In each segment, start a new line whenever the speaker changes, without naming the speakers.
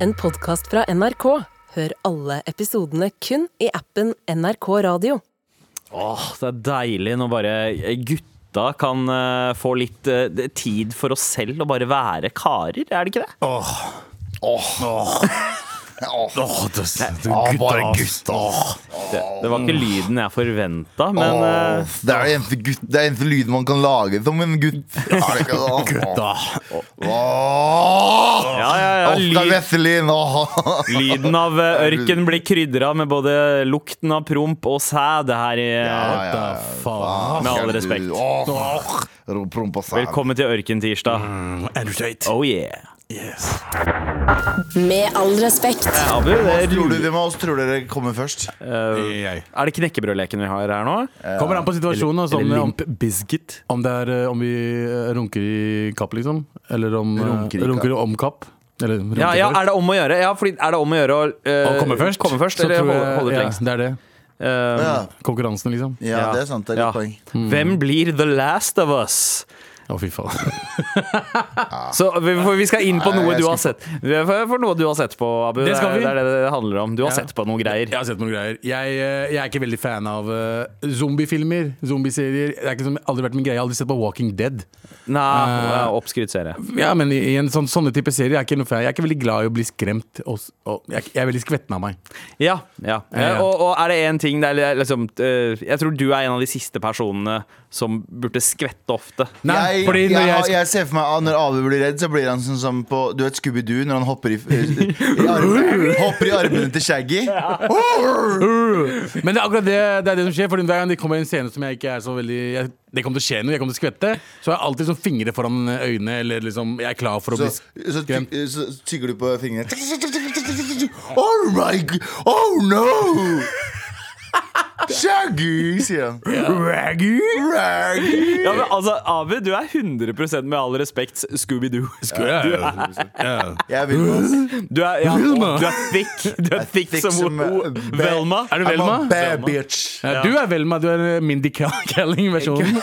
en podkast fra NRK. Hør alle episodene kun i appen NRK Radio.
Åh, det er deilig når bare eh, gutta kan eh, få litt eh, tid for oss selv og bare være karer, er det ikke det?
Åh, det, det,
Ja,
gutta,
bare
ass.
gutta. Åh,
Det, det var ikke lyden jeg forventa, men eh,
Det er den eneste, gutt, det er eneste lyden man kan lage som en gutt. Er det ikke det?
Gutta.
Åh.
ja, ja, ja,
Oskar
lyd,
Vesselin. åh.
lyden av eh, ørken blir krydra med både lukten av promp og sæd her i eh,
Ja, ja, ja.
faen?
Med all
Skal du-
respekt.
Åh. Ro- Promp og sæd.
Velkommen til
Mm.
Ørkentirsdag.
Mm, Er du tøyt?
Oh yeah.
Yes.
Med all respekt.
Eh, Abu, det er,
Tror du det med oss tror dere kommer først?
eh,
Jeg.
er det knekkebrødleken vi har her nå?
Eh,
Kommer an på situasjonen. Altså, om,
Eller
om,
limp biscuit?
om, det er, eh, om vi eh, runker i kapp, liksom. Eller om eh,
Runker i kapp.
runker om kapp. Eller runker
Ja, ja,
først.
er det om å gjøre? Ja, fordi er det om å gjøre å eh,
Og komme først.
Komme først
Så
eller
tror
holde,
jeg-
holde ut
ja,
lengst?
Det er det.
Eh,
Ja,
Konkurransen, liksom. Å,
ja det er sant. Det er
Ja.
et poeng.
Hvem blir the last of us?
fy faen.
Så vi, for vi skal inn på
Nei,
noe
jeg
du har sett. For, for noe du har sett på, Abu.
Det skal
er-
vi.
Det er det det handler om. Du har
Ja.
sett på noen greier.
Jeg har sett noen greier. Jeg, eh, jeg er ikke veldig fan av eh, zombiefilmer, zombieserier. Det har aldri vært min greie. Jeg har aldri sett på Walking Dead.
Nei,
Eh,
uh, oppskrytt serie.
Ja, men i, i en sånn, sånne type serier er jeg ikke noe fan. Jeg er ikke veldig glad i å bli skremt. Og, s- og, jeg, jeg er veldig skvetten av meg.
Ja. ja.
ja.
Eh, Og, og er det én ting det er liksom, eh, Jeg tror du er en av de siste personene som burde skvette ofte.
Nei,
jeg,
fordi når
jeg,
jeg,
jeg, ser for meg at når Abu blir redd, så blir han sånn som på Du vet Scooby-Doo når han hopper i, i, armene, hopper i armene til Shaggy?
Men det er akkurat det, det er det som skjer. Fordi hver gang det kommer en scene som jeg ikke er så veldig jeg, Det kommer til å skje noe, jeg kommer til å skvette. Så har jeg alltid sånn fingre foran øynene, eller liksom Jeg er klar for å
Så,
bli
så,
skremt.
ty- så tygger du på fingrene. Oh my g- Oh no! Shaggy, sier han. Raggy? Raggy.
Ja, men altså, Abu, du er 100 med all respekt Scooby-Doo.
Jeg vil
Du er, ja,
Velma.
du er thick. Du er thick
thick
som
som,
O-
eh, be-
Velma.
Er du
I'm
Velma?
a bad bitch.
Ja, du er Velma. Du er eh, Mindy Calling-versjonen.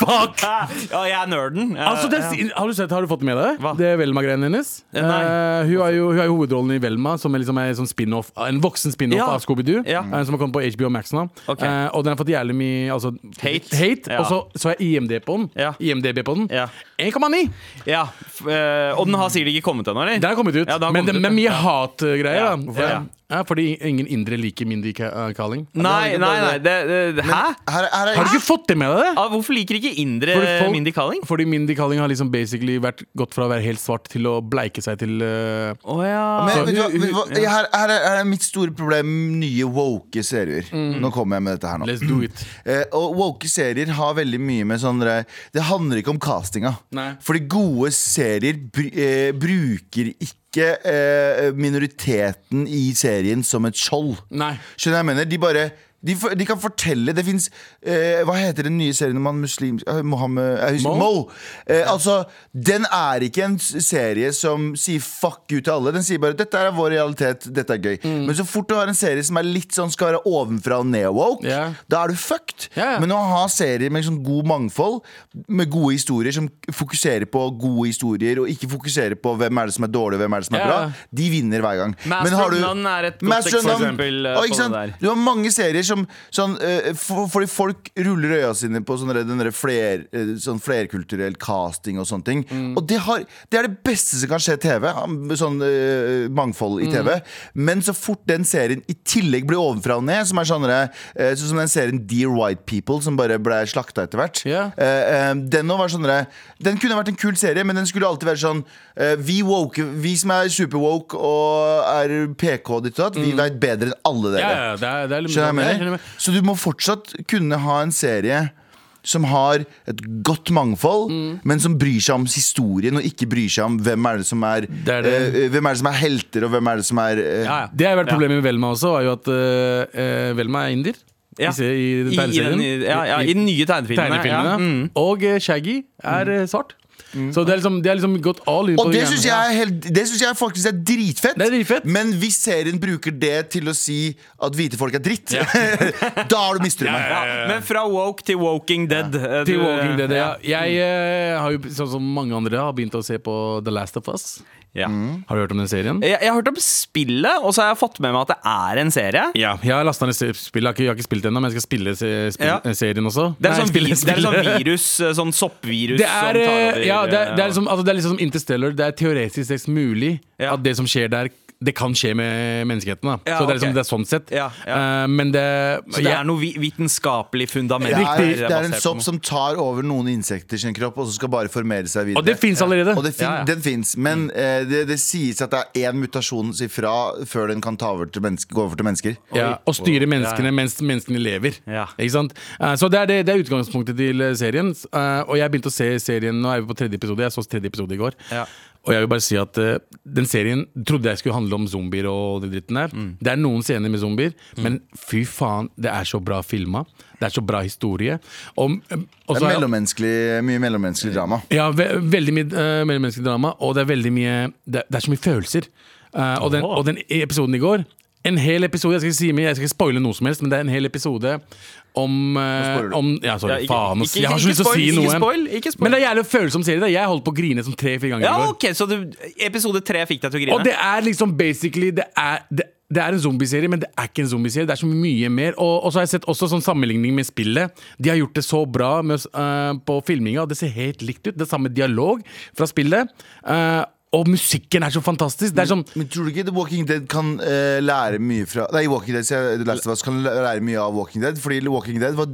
Fuck!
Ja, jeg er nerden. Jeg-
Altså, det, har, du sett, har du fått med deg
Hva?
det Velma-greiene hennes?
Eh, nei.
Eh, hun, er jo, hun er jo hovedrollen i Velma, som er liksom er en sånn spin-off En voksen spin-off
Ja.
av Scooby-Doo.
Ja.
eh, som har kommet på HBO Max nå.
Ok.
Eh, og den har fått jævlig mye altså,
Hate.
hate
Ja.
Og så så jeg IMD på den.
Ja.
IMDb på den.
Ja.
1,9!
Ja, f- eh, Og den har sikkert ikke kommet ennå, eller?
Den har kommet ut.
Ja, den har
men
kommet
det
ut,
er
ja.
mye hatgreier.
Ja.
Ja.
Hvorfor det?
Ja, fordi ingen indre liker Mindy Ka- Kaling.
Nei, nei,
det var
nei.
ikke
Det, det, hæ?
Her, her
Har
er
du ikke fått det med deg? det?
Ah, hvorfor liker ikke indre
Fordi folk-
Eh, Mindy Kaling?
Fordi Mindy Kaling har liksom basically vært gått fra å være helt svart til å bleike seg til eh,
Å ja.
men,
Så-
vet du, hva- vet du hva, her, her er- her er mitt store problem nye woke serier.
Mm.
Nå kommer jeg med dette her nå.
Let's do it.
Eh, og woke serier har veldig mye med sånn der- Det handler ikke om castinga.
Nei.
Fordi gode serier br eh, bruker ikke eh, minoriteten i serien som et skjold.
Nei.
Skjønner du hva jeg mener? De bare de, for- de kan fortelle Det fins eh, Hva heter den nye serien om han muslimsk eh, Mohammed jeg husker,
Mo?
Mo? Eh, altså, den er ikke en s- serie som sier fuck you til alle. Den sier bare 'dette er vår realitet, dette er gøy'.
Mm.
Men så fort du har en serie som er litt sånn skal være ovenfra og ned-woke,
Ja.
da er du fucked.
Ja, ja.
Men å ha serier med sånn god mangfold, med gode historier som fokuserer på gode historier, og ikke fokuserer på hvem er det som er dårlig, og hvem er det som
Ja,
er
ja.
bra, de vinner hver gang.
Master
har
of None er et godt
Master of None-
eksempel, eh,
Å,
på
ikke sant?
det der.
Du har mange serier som sånn, eh, for, Fordi folk ruller øya sine på sånn der- den der fler, eh, sånn flerkulturell casting og sånne ting.
Mm.
Og det, har, det er det beste som kan skje i TV. am- Sånn eh, mangfold i TV.
Mm.
Men så fort den serien i tillegg blir ovenfra og ned, som er sånn der, eh, sånn som den serien Dear White People, som bare ble slakta etter hvert.
Ja.
Eh, eh, den, nå var sånn der, den kunne vært en kul serie, men den skulle alltid være sånn eh, vi, woke, vi som er superwoke og er PK, og ditt og datt, vi vet bedre enn alle dere.
Mm. Ja, ja, det er, det er litt
Skjønner du hva jeg
skjønner
mener? Så du må fortsatt kunne ha en serie som har et godt mangfold,
Mm.
men som bryr seg om historien, og ikke bryr seg om hvem er det som er,
er det.
eh, hvem er, det som er helter, og hvem er det som er eh,
Ja, ja. Det har vært problemet med Velma også, er jo at eh, eh, Velma er indier.
Ja.
I, se- i den tegneserien.
I, i, den, ja, ja, I den nye tegnefilmen.
tegnefilmene.
Ja. Mm.
Og eh, Shaggy er eh, svart. Så det er liksom, det er liksom gått all in
Og det
greiene.
syns jeg, er helt- det synes jeg faktisk er dritfett.
Det er dritfett.
Men hvis serien bruker det til å si at hvite folk er dritt, da har du mistrua meg.
Ja, men fra woke til Woking Dead. eh,
Til
du, eh,
Walking Dead, ja. Jeg eh, har jo, sånn som mange andre, har begynt å se på The Last of Us.
Ja.
Har du hørt om den serien?
Jeg, jeg har hørt om spillet, og så har jeg fått med meg at det er en serie.
Ja, jeg har lasta ned se- spillet. Jeg har ikke, jeg har ikke spilt det ennå, men jeg skal spille se, spill,
Ja.
eh, serien også.
Det er
Nei,
sånn, vi,
spille-
det er
spille-
sånn virus, sånn soppvirus
Det
som
er,
tar over
eh, ja, det er, det er
ja.
liksom, altså, det er liksom som Interstellar. Det er teoretisk sett mulig
Ja.
at det som skjer der, det kan skje med menneskeheten. Da.
Ja,
så det er, liksom,
ok.
det er sånn sett.
Ja, ja.
Eh, men det,
Så det
jeg-
er noe vi- vitenskapelig fundament
Det er,
her,
det er en
basert på
sopp
noe.
som tar over noen insekter i sin kropp, og så skal bare formere seg videre.
Og det fins allerede.
Og det fin
Ja, Mm. ja.
den fins, men eh, det, det sies at det er én mutasjon ifra før den kan ta over til menneske, gå over til mennesker.
ja, og styre menneskene mens menneskene lever.
Ja.
Ikke sant? Eh, Så det er, det, det er utgangspunktet til eh, serien. S- eh, Og jeg begynte å se serien Nå er vi på tredje episode. Jeg så tredje episode i går.
Ja.
Og jeg vil bare si at eh, den serien trodde jeg skulle handle om zombier og den dritten der. Det er noen scener med zombier, men fy faen, det er så bra filma. Det er så bra historie. Og, eh, og
Det
så
er
er-
mellommenneskelig, mye mellommenneskelig drama.
ja, ve veldig mye eh, mellommenneskelig drama, og det er veldig mye Det, det er så mye følelser. Eh, og, den,
Åh.
og den episoden i går En hel episode, jeg skal ikke si mye, jeg skal ikke spoile noe som helst, men det er en hel episode om, eh,
spoiler du.
om Ja, sorry,
Ja, ikke-
faen. ass.
ikke-
jeg har
ikke
så lyst til å si
spoil,
noe.
ikke spoil, ikke spoil.
Men det er jævlig følsom serie. Da. Jeg holdt på å grine som tre-fire ganger
Ja,
i går.
ok, så du, episode tre fikk deg til å grine?
Og det er liksom basically Det er, det, det er en zombieserie, men det er ikke en zombieserie. Det er så mye mer. Og, og så har jeg sett også sånn sammenligning med spillet. De har gjort det så bra med, oss, eh, på filminga, og det ser helt likt ut. Det er samme dialog fra spillet. eh, og musikken er så fantastisk. Det er sånn
Men tror du ikke The Walking Dead kan eh, lære mye fra Nei, Walking Dead, sier jeg, The Last of Us kan læ- lære mye av Walking Dead. Fordi Walking Dead var,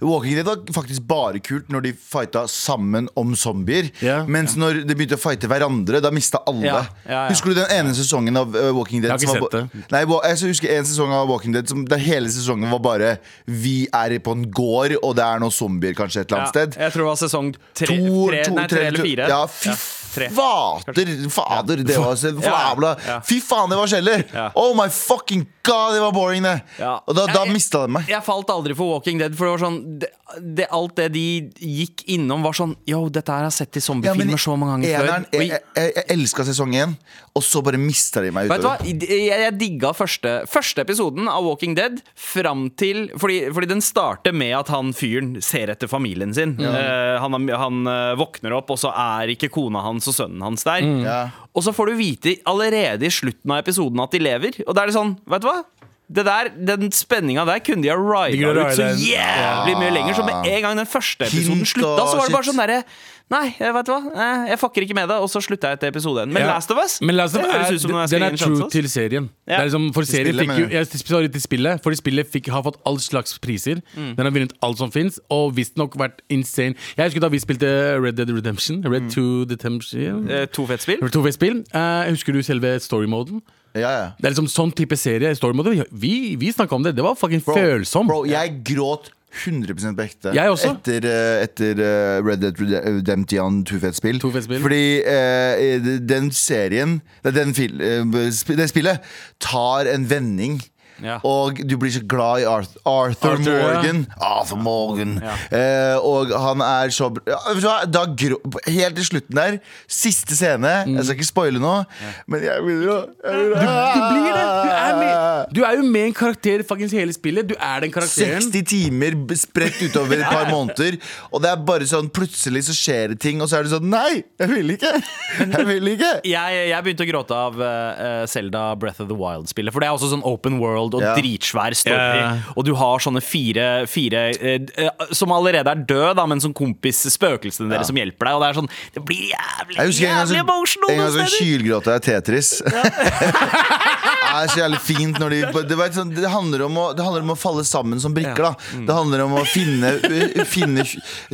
Walking Dead var faktisk bare kult når de fighta sammen om zombier.
Ja.
mens når de begynte å fighte hverandre, da mista alle.
Ja, ja, ja.
Husker du den ene sesongen av eh, Walking Dead?
Jeg har ikke
som var
sett
ba- Nei, wa- jeg husker en sesong av Walking Dead som der hele sesongen var bare Vi er på en gård, og det er noen zombier kanskje et eller
Ja,
annet sted.
Jeg tror det var sesong tre,
To-
tre,
to-
nei, tre eller
to-
fire.
Ja, fy
tre.
fader, fader, det var så fabla.
ja.
Fy faen, det var kjeller!
Ja.
Oh my fucking god, det var boring, det!
Ja.
Og da, da
Jeg-
mista de meg.
Jeg falt aldri for Walking Dead, for det var sånn det, det, Alt det de gikk innom, var sånn Yo, dette her har jeg sett i
Ja,
zombiefilmer så mange ganger før.
eneren, jeg,
Og i-
jeg, jeg, jeg elska sesong én, og så bare mista de meg
Vet du hva?
utover.
Jeg, jeg digga første, første episoden av Walking Dead fram til fordi, fordi den starter med at han fyren ser etter familien sin. Eh, han, har- han eh, våkner opp, og så er ikke kona hans og sønnen hans der.
Ja.
Og så får du vite allerede i slutten av episoden at de lever. Og da er det sånn, vet du hva? Det der, den spenninga der kunne de ha
kunne
rida
ha
ut så
ridet den.
jævlig mye lenger. Så med en gang den første episoden
Hint
slutta,
og
så var det bare
shit.
sånn derre Nei, vet du hva? Eh, Jeg fucker ikke med det. Og så slutta jeg etter episode én. Men
Ja.
Last of Us
Men Last of
det
Us
høres
er,
ut som noe jeg skal gi
den er
en
true
sjanse. ass.
til serien.
Ja.
Det er liksom, for serien
spillet,
fikk jo
mener du?
jeg, Sorry til spillet, fordi spillet fikk, har fått all slags priser.
Mm.
Den har vunnet alt som fins, og visstnok vært insane. Jeg husker da vi spilte Red Dead Redemption. Red 2 Redemption.
Mm. Eh, To fett spill.
To spill. Eh, husker du selve story-moden?
Ja, ja.
Det er liksom sånn type serie. Story-moden Vi, vi snakka om det. Det var fucking
Bro,
følsom.
Bro, jeg gråt 100 på ekte
Jeg også.
etter, eh, etter eh, Red Dead Redemption 2-fet-spill.
To Fet Spill.
Fordi eh, den serien nei, den fil, eh, sp- Det spillet tar en vending.
Ja.
Og du blir så glad i Arthur, Arthur,
Arthur, ja.
Morgan. Arthur Morgan. Eh, og han er så br- ja, vet du hva? da grå, Helt til slutten der, siste scene Jeg skal ikke spoile noe, men jeg vil jo jeg vil,
Mm. Du blir det! Du er, med, du er jo med en karakter fuckings hele spillet. Du er den karakteren.
60 timer b- spredt utover et par måneder, og det er bare sånn plutselig så skjer det ting, og så er det sånn Nei, jeg vil ikke! Jeg vil ikke!
Jeg, jeg begynte å gråte av Selda Breath of the Wild-spillet. For det er også sånn open world og
Ja.
dritsvær story.
Ja.
Og du har sånne fire, fire eh, eh, som allerede er døde, da, men som kompis spøkelsene deres som hjelper deg. Og det er sånn Det blir jævlig,
Jeg husker en gang
jævlig
så,
emotional
en gang
noen
så
steder.
kylgråta jeg Tetris. Det er så jævlig fint når de Det, var sånn, det, handler om å, det handler om å falle sammen som brikker, da. Det handler om å finne, finne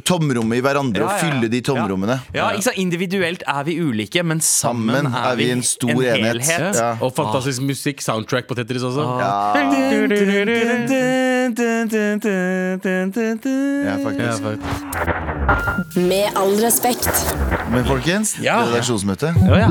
tomrommet i hverandre og fylle de tomrommene.
Ja, ja ikke sant? Individuelt er vi ulike, men sammen,
Sammen
er vi en
stor enhet.
helhet.
Ja.
Ja.
Og fantastisk musikk. Soundtrack på Tetris også. Ja,
Ja, faktisk.
faktisk.
Med all respekt.
Men folkens,
Ja.
redaksjonsmøte.
Ja, ja.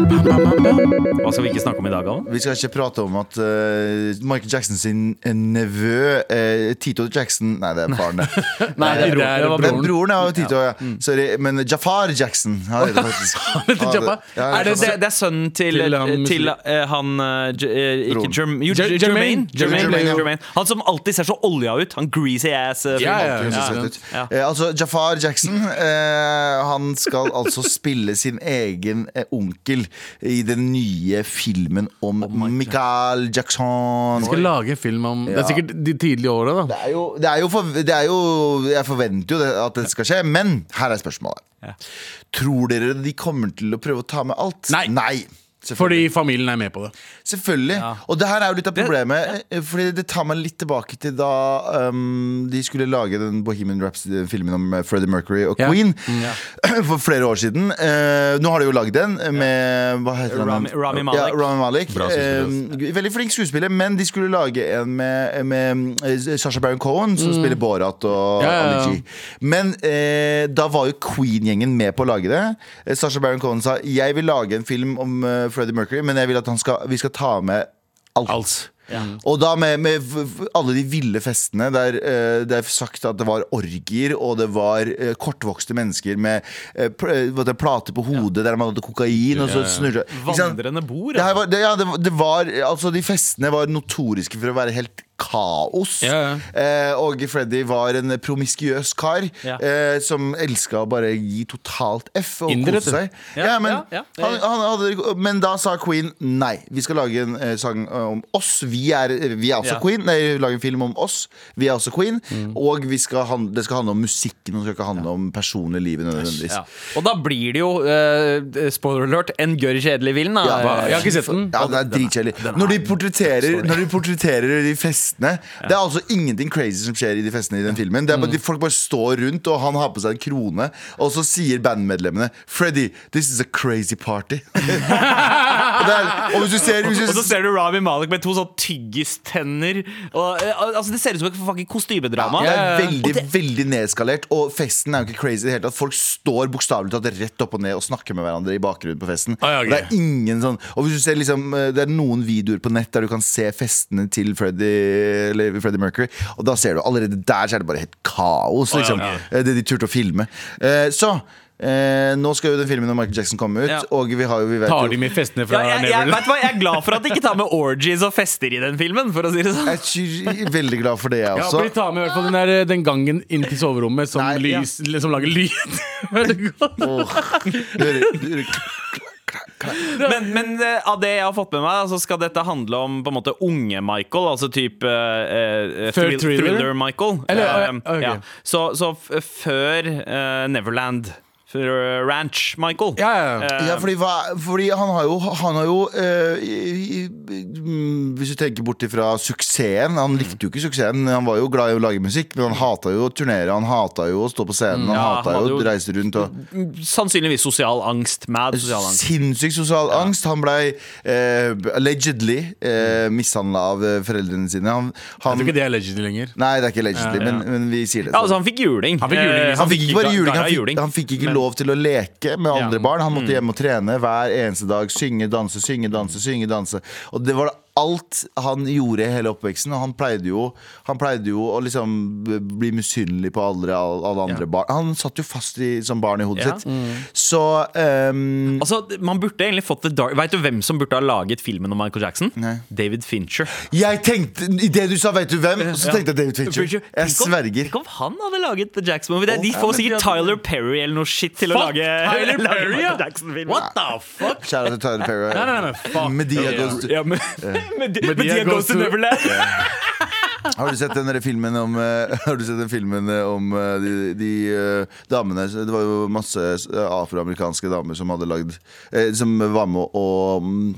Hva skal vi ikke snakke om i dag, Allan?
Vi skal ikke prate om at eh, Michael Jackson sin eh, nevø eh, Tito Jackson Nei, det er faren, det.
Nei,
det er broren. Det var
Men
broren.
broren er jo Tito, ja. Sorry. Men Jafar Jackson. Han heter faktisk Han
heter Jafar.
Ja,
Er det, det,
Jafar.
det er sønnen til,
Til han-
til eh, han eh, J- eh, ikke
Broren.
Jerm- jo, Jermaine.
Jer- Jermaine.
Jermaine,
Jermaine, ja.
Jermaine. Han som alltid ser så olja Olja ut. Han greasy ass. eh, fyren.
Ja, ja,
Alltid høres
ja.
søt ut.
Ja.
Eh, altså, Jafar Jackson eh, Han skal altså spille sin egen eh, onkel i den nye filmen om Michael Jackson.
Skal lage en film om Det er sikkert de tidlige åra,
Det
da.
er, jo, det, er jo for, det er jo Jeg forventer jo det, at det skal skje, men her er spørsmålet.
Ja.
Tror dere de kommer til å prøve å ta med alt?
Nei.
Selvfølgelig.
Fordi familien er med på det.
Selvfølgelig. Og det her er jo litt av problemet, eh, Fordi det tar meg litt tilbake til da um, de skulle lage den Bohemian Rhapsody-filmen om eh, Freddie Mercury og
Ja.
Queen for flere år siden. Eh, nå har de jo lagd den eh, med hva heter han?
Rami- Rami Malek.
Ja, Rami Malek.
Bra skuespiller, altså.
Eh, veldig flink skuespiller, men de skulle lage en med, med eh, Sacha Baron Cohen, som spiller Borat og
Ja, ja, ja.
Ali G. Men eh, da var jo Queen-gjengen med på å lage det. Eh, Sacha Baron Cohen sa Jeg vil lage en film om eh, Freddie Mercury, men jeg vil at han skal, vi skal ta med alt.
Alt.
Og da med, med v- v- alle de ville festene der eh, det er sagt at det var orgier, og det var eh, kortvokste mennesker med eh, pl eh, hva heter det, plater på hodet der man hadde kokain, og så snurra Ikke sant?
Vandrende bord.
Det, her
altså.
var, det, ja, det, var- det var, altså De festene var notoriske for å være helt kaos.
Ja,
Eh, og Freddy var en promiskuøs kar
Ja.
eh, som elska å bare gi totalt F og
Inder, vet
kose seg.
Ja,
Ja, men,
ja, ja.
Han, han hadde, men da sa Queen nei. Vi skal lage en eh, sang om oss. Vi er, vi er også
Ja. Mm.
Queen. Nei, lage en film om oss. Vi er også Queen. Og vi skal han- det skal handle om musikken, og det skal ikke handle om personlig livet nødvendigvis.
Ja. Og da blir det jo, eh, spoiler alert, en gørr kjedelig film. da.
Ja,
Jeg har ikke sett den.
Ja, det er dritkjedelig. Når, de portretterer- når de portretterer de festene Det er altså ingenting crazy som skjer i de festene i den filmen. Det er
Mm.
bare, de, folk bare står rundt, og han har på seg en krone, og så sier bandmedlemmene Freddy, this is a crazy party. og, det er, og hvis du ser hvis
Og
du,
så ser du Rami Malek med to sånn tyggistenner. Og, eh, al- altså, det ser ut som et fucking kostymedrama.
det er
Og
veldig
det-
veldig nedskalert, og festen er jo ikke crazy. i Det hele tatt Folk står bokstavelig talt rett opp og ned og snakker med hverandre i bakgrunnen på festen.
Ah, ja,
Og Det er
ok.
ingen sånn Og hvis du ser liksom eh, Det er noen videoer på nett der du kan se festene til Freddie, eller Freddie Mercury, og da ser du allerede der så er det bare helt kaos,
Ah, ja,
liksom.
ok.
eh, Det de turte å filme. Eh, Så eh, nå skal jo den filmen om Michael Jackson komme ut,
Ja.
og vi har jo vi vet
Tar
jo-
de med festene
ja,
fra
jeg, jeg,
Neverland?
vet du hva, jeg er glad for at de ikke tar med orgies og fester i den filmen, for å si det sånn.
Jeg er veldig glad for det, altså. jeg
Ja,
også.
for de tar med i hvert fall den, der, eh, den gangen inn til soverommet som,
Nei, ja.
lys, som lager lyd. Vet du godt?
Åh. Du hører- du hører-
Men, men eh, av det jeg har fått med meg, så skal dette handle om på en måte unge Michael. Altså type eh, eh,
Før
thrill-
Thriller?
Michael.
Eller,
Ja,
eh, ok.
ja. Så, så f før eh, Neverland. Før eh, Ranch Michael.
Ja, ja, ja.
Eh,
Ja, fordi, hva, fordi han har jo, han har jo eh, i, i, mm, Hvis du tenker bort ifra suksessen Han
Mm.
likte jo ikke suksessen, han var jo glad i å lage musikk, men han hata jo å turnere, han hata jo å stå på scenen,
Mm.
han
Ja,
hata
han
jo
hadde
å
jo-
reise rundt og
Sannsynligvis sosial angst. Mad
Eh,
sosial angst.
Sinnssyk sosial angst. Han blei eh, allegedly eh,
Mm.
mishandla av eh, foreldrene sine. Han,
Jeg
han,
tror ikke det er legend lenger.
Nei, det er ikke allegedly, men, men vi sier det.
Ja,
sånn.
altså han fikk juling.
Han fikk juling,
Eh,
liksom.
Han fikk ikke bare
ga-
juling,
ga-
han
ga
fikk, han fikk ikke lov til å leke med andre barn. Han
Mm.
måtte hjem og trene hver eneste dag. Synge, danse, synge, danse, synge, danse. Og det var alt han gjorde i hele oppveksten. Og han pleide jo, han pleide jo å liksom b- bli misunnelig på alle, alle andre barn. Han satt jo fast i, som barn i hodet
Ja.
sitt.
Mm.
Så ehm,
Altså, man burde egentlig fått The Dark Vet du hvem som burde ha laget filmen om Michael Jackson? David Fincher.
jeg tenkte Idet du sa 'vet du hvem', så tenkte jeg David Fincher. Jeg
Tenk om-
sverger.
Tenk om han hadde laget The Jackson Movie. Det- De får sikkert Tyler Perry eller noe shit til å
Fuck
lage
Tyler
lage
Perry,
Michael
ja.
Jackson-film.
What the fuck?
Kjære til Tyler Perry.
Nei, nei, nei, fuck.
Medea
Ja.
Ghost-
Ja, men, men, de- men de
Medea
har Ghost to
Goes to-
Neverland.
Har du sett den der filmen om, eh, har du sett den filmen eh, om eh, de, de eh, damene Det var jo masse eh, afroamerikanske damer som hadde lagd eh, Som var med og mm,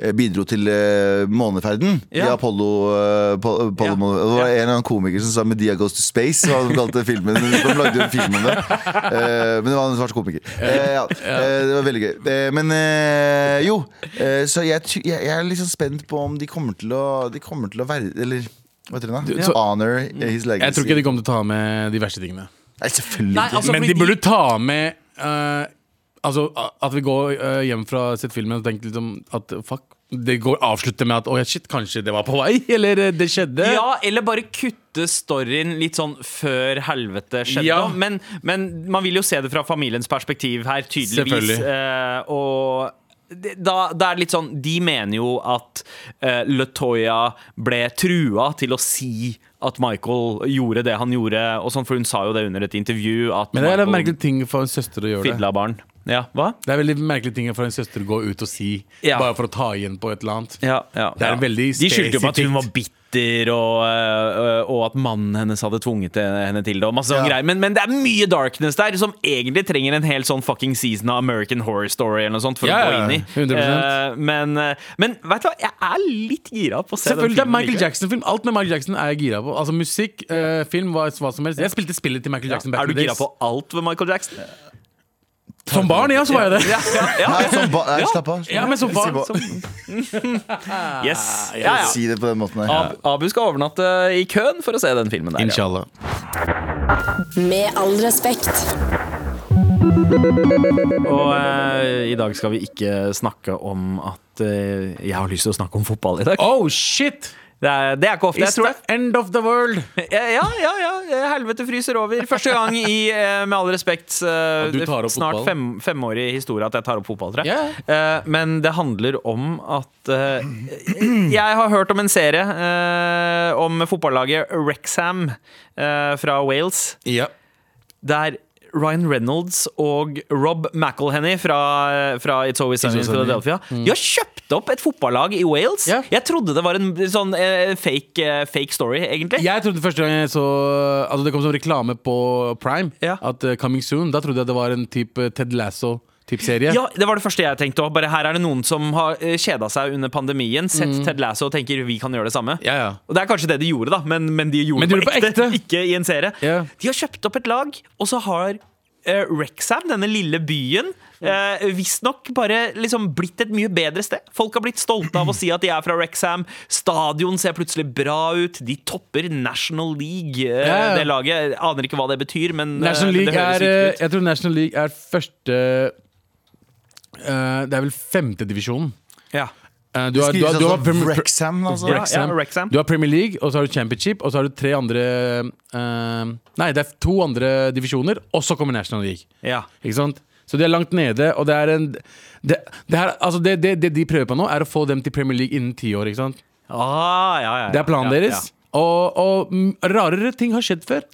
eh, bidro til eh, måneferden i
Ja.
Apollo, eh, po- Apollo
Ja.
måne- Det var
Ja.
en eller annen komiker som sa 'Media goes to space'. Hva de kalte filmen De lagde jo en film om det. Eh, men det var en svart komiker. Eh, ja. Eh, det var veldig gøy. Eh, men eh, jo, eh, så jeg, ty- jeg, jeg er liksom spent på om de kommer til å De kommer til å være Eller hva heter det? da?
så-
Honor his legacy.
Jeg tror ikke de kommer til å ta med de verste tingene.
Nei, selvfølgelig
Nei,
ikke.
altså,
Men
fordi
de burde ta med eh, Altså a- at vi går eh, hjem fra å ha sett filmen og tenker liksom at fuck Det går avslutter med at å ja, shit, kanskje det var på vei, eller eh, det skjedde.
Ja, eller bare kutte storyen litt sånn før helvete skjedde.
Ja.
da. Men, men man vil jo se det fra familiens perspektiv her, tydeligvis.
Selvfølgelig.
Eh, og det- da, da er det litt sånn De mener jo at eh, Latoya ble trua til å si at Michael gjorde det han gjorde, og sånn, for hun sa jo det under et intervju at
Men det er en
Michael
merkelig ting for en søster å gjøre det.
fidla barn. Ja, hva?
Det er veldig merkelig ting for en søster å gå ut og si,
Ja.
bare for å ta igjen på et eller annet.
Ja, ja,
Det er
ja.
veldig
De skyldte jo på at hun
spesifikt.
var bitter, og, øh, øh, og at mannen hennes hadde tvunget det- henne til det. Og masse sånne
Ja.
greier men, men det er mye darkness der, som egentlig trenger en hel sånn fucking season av American Horror Story eller noe sånt for
Ja,
å gå
ja,
inn i.
100%.
Eh, men eh, men vet du hva, jeg er litt gira på å se
Selvfølgelig,
den
det er
filmen.
Michael Jackson-film. Alt med Michael Jackson er jeg gira på. Altså Musikk, eh, film, hva, hva som helst. Jeg spilte spillet til Michael Jackson. back
Er
in
du
the
gira
days.
på alt ved Michael Jackson?
Som barn, ja, så var jeg det.
Ja, ja, ja.
Nei, sånn ba nei, slapp av.
Ja, men som
Si
barn
på-
Yes. Ja, ja.
Si det på den måten der.
Ab Abu skal overnatte i køen for å se den filmen der. Ja.
Inshallah.
Med all respekt.
Og eh, i dag skal vi ikke snakke om at eh, jeg har lyst til å snakke om fotball i dag.
Oh shit!
Det er, det er ikke ofte. Jeg
It's
tror
the end of the world.
Ja, ja, ja, ja. Helvete fryser over. Første gang i, eh, med all respekt, eh,
du tar opp
snart
fotball.
fem, femårig historie at jeg tar opp fotball, tror jeg.
Ja.
Eh, Men det handler om at eh, Jeg har hørt om en serie eh, om fotballaget Rexham eh, fra Wales
Ja.
der Ryan Reynolds og Rob McElhenney fra, fra It's Always Sunny Mm. in
Always Sunny.
Philadelphia De har kjøpt opp et fotballag i Wales.
Ja.
Jeg trodde det var en sånn eh, fake, eh, fake story, egentlig.
Jeg trodde første gang jeg så Altså det kom som reklame på Prime,
Ja.
at eh, Coming Soon. Da trodde jeg det var en type eh, Ted Lasso-type serie.
Ja, det var det første jeg tenkte òg. Bare her er det noen som har kjeda seg under pandemien, sett Ted Lasso og tenker vi kan gjøre det samme.
Mm. Ja, ja.
Og det er kanskje det de gjorde, da, men, men de gjorde
Men de
det på,
gjorde det
ekte,
på ekte.
Ikke i en serie.
Ja.
De har kjøpt opp et lag, og så har eh, Rexham, denne lille byen,
Mm.
uh, visstnok bare liksom blitt et mye bedre sted. Folk har blitt stolte av å si at de er fra Rexham. Stadion ser plutselig bra ut. De topper National League, eh,
Ja, ja.
det laget. Jeg Aner ikke hva det betyr, men eh,
National League
det høres
er eh,
riktig ut.
Jeg tror National League er første eh, Det er vel femtedivisjonen.
Ja.
Uh, du, har- du,
Skrives
har- du, har
altså
Premier-
Wrexham, altså.
Ja,
Wrexham.
ja, Wrexham.
du har Premier League, og så har du Championship, og så har du tre andre eh, Nei, det er to andre divisjoner, og så kommer National League.
Ja.
Ikke sant? Så de er langt nede, og det er en Det, det, her, altså det, det, det de prøver på nå, er å få dem til Premier League innen ti år. Ikke sant?
Ah, ja, ja, ja,
Det er planen
ja, ja.
deres. Og, og mm, rarere ting har skjedd før.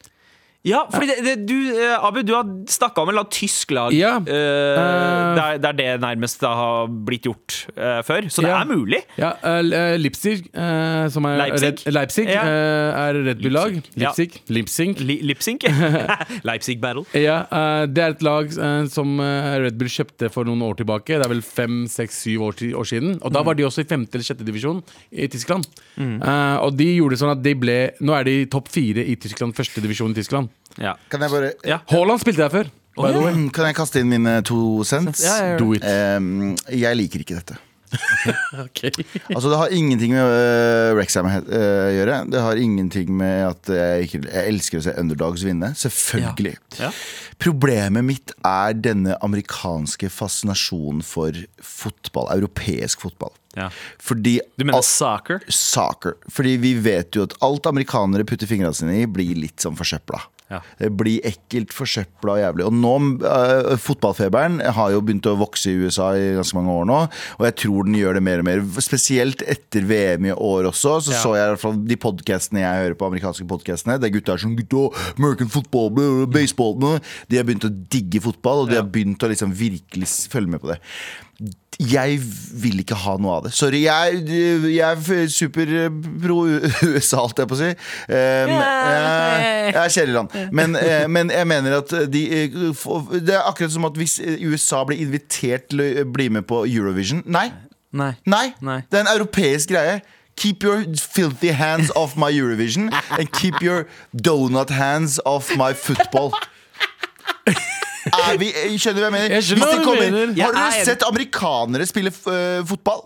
Ja, fordi det, det, du, eh, Abu, du har snakka om et eller annet tysk lag.
Ja.
Eh, det, er, det er det nærmest det har blitt gjort eh, før. Så det
Ja.
er mulig.
Ja, eh, Leipzig, eh, som er
Leipzig?
Red, Leipzig
Ja.
eh, er Red Bull-lag.
Ja.
Leipzig. Leipzig.
Li Lipsync. Leipzig Battle.
Ja, eh, det er et lag eh, som eh, Red Bull kjøpte for noen år tilbake. Det er vel fem, seks, syv år, ti- år siden. Og
Mm.
da var de også i femte eller sjette divisjon i Tyskland. Eh, og de gjorde det sånn at de ble Nå er de i topp fire i Tyskland, første divisjon i Tyskland.
Ja.
Kan jeg bare
Ja.
Haaland spilte der før. by the way.
Mm, Kan jeg kaste inn mine to cents?
Ja, ja, ja.
Do it.
Em, jeg liker ikke dette.
Ok.
Altså Det har ingenting med uh, Rexham å gjøre. Det har ingenting med at jeg, ikke, jeg elsker å se underdogs vinne. Selvfølgelig.
Ja. Ja.
Problemet mitt er denne amerikanske fascinasjonen for fotball. Europeisk fotball.
Ja.
Fordi
Du mener
al-
soccer?
soccer. Fordi vi vet jo at alt amerikanere putter fingrene sine i, blir litt sånn forsøpla.
Ja.
Det blir ekkelt, forsøpla og jævlig. Og nå, eh, fotballfeberen har jo begynt å vokse i USA i ganske mange år nå, og jeg tror den gjør det mer og mer. Spesielt etter VM i år også, så så jeg i hvert fall de podcastene jeg hører på, amerikanske podcastene, der gutta er sånn gutta, American football, blah, blah, baseball, blah. de har begynt å digge fotball, og de har begynt å liksom virkelig s- følge med på det jeg vil ikke ha noe av det. Sorry, jeg, jeg er superpro USA, holdt jeg på å si. Um, eh, jeg er kjæleland. Men, eh, men jeg mener at de eh, få- Det er akkurat som at hvis eh, USA blir invitert til å eh, bli med på Eurovision. Nei!
Nei.
Nei!
Nei.
Det er en europeisk greie. Keep your filthy hands off my Eurovision, and keep your donut hands off my football. Er vi, skjønner du hva jeg mener?
Jeg skjønner
Hvis de
hva du
kommer-
mener.
Jeg
Har
er enig.
dere sett amerikanere spille f- øh,
Mm.
fotball?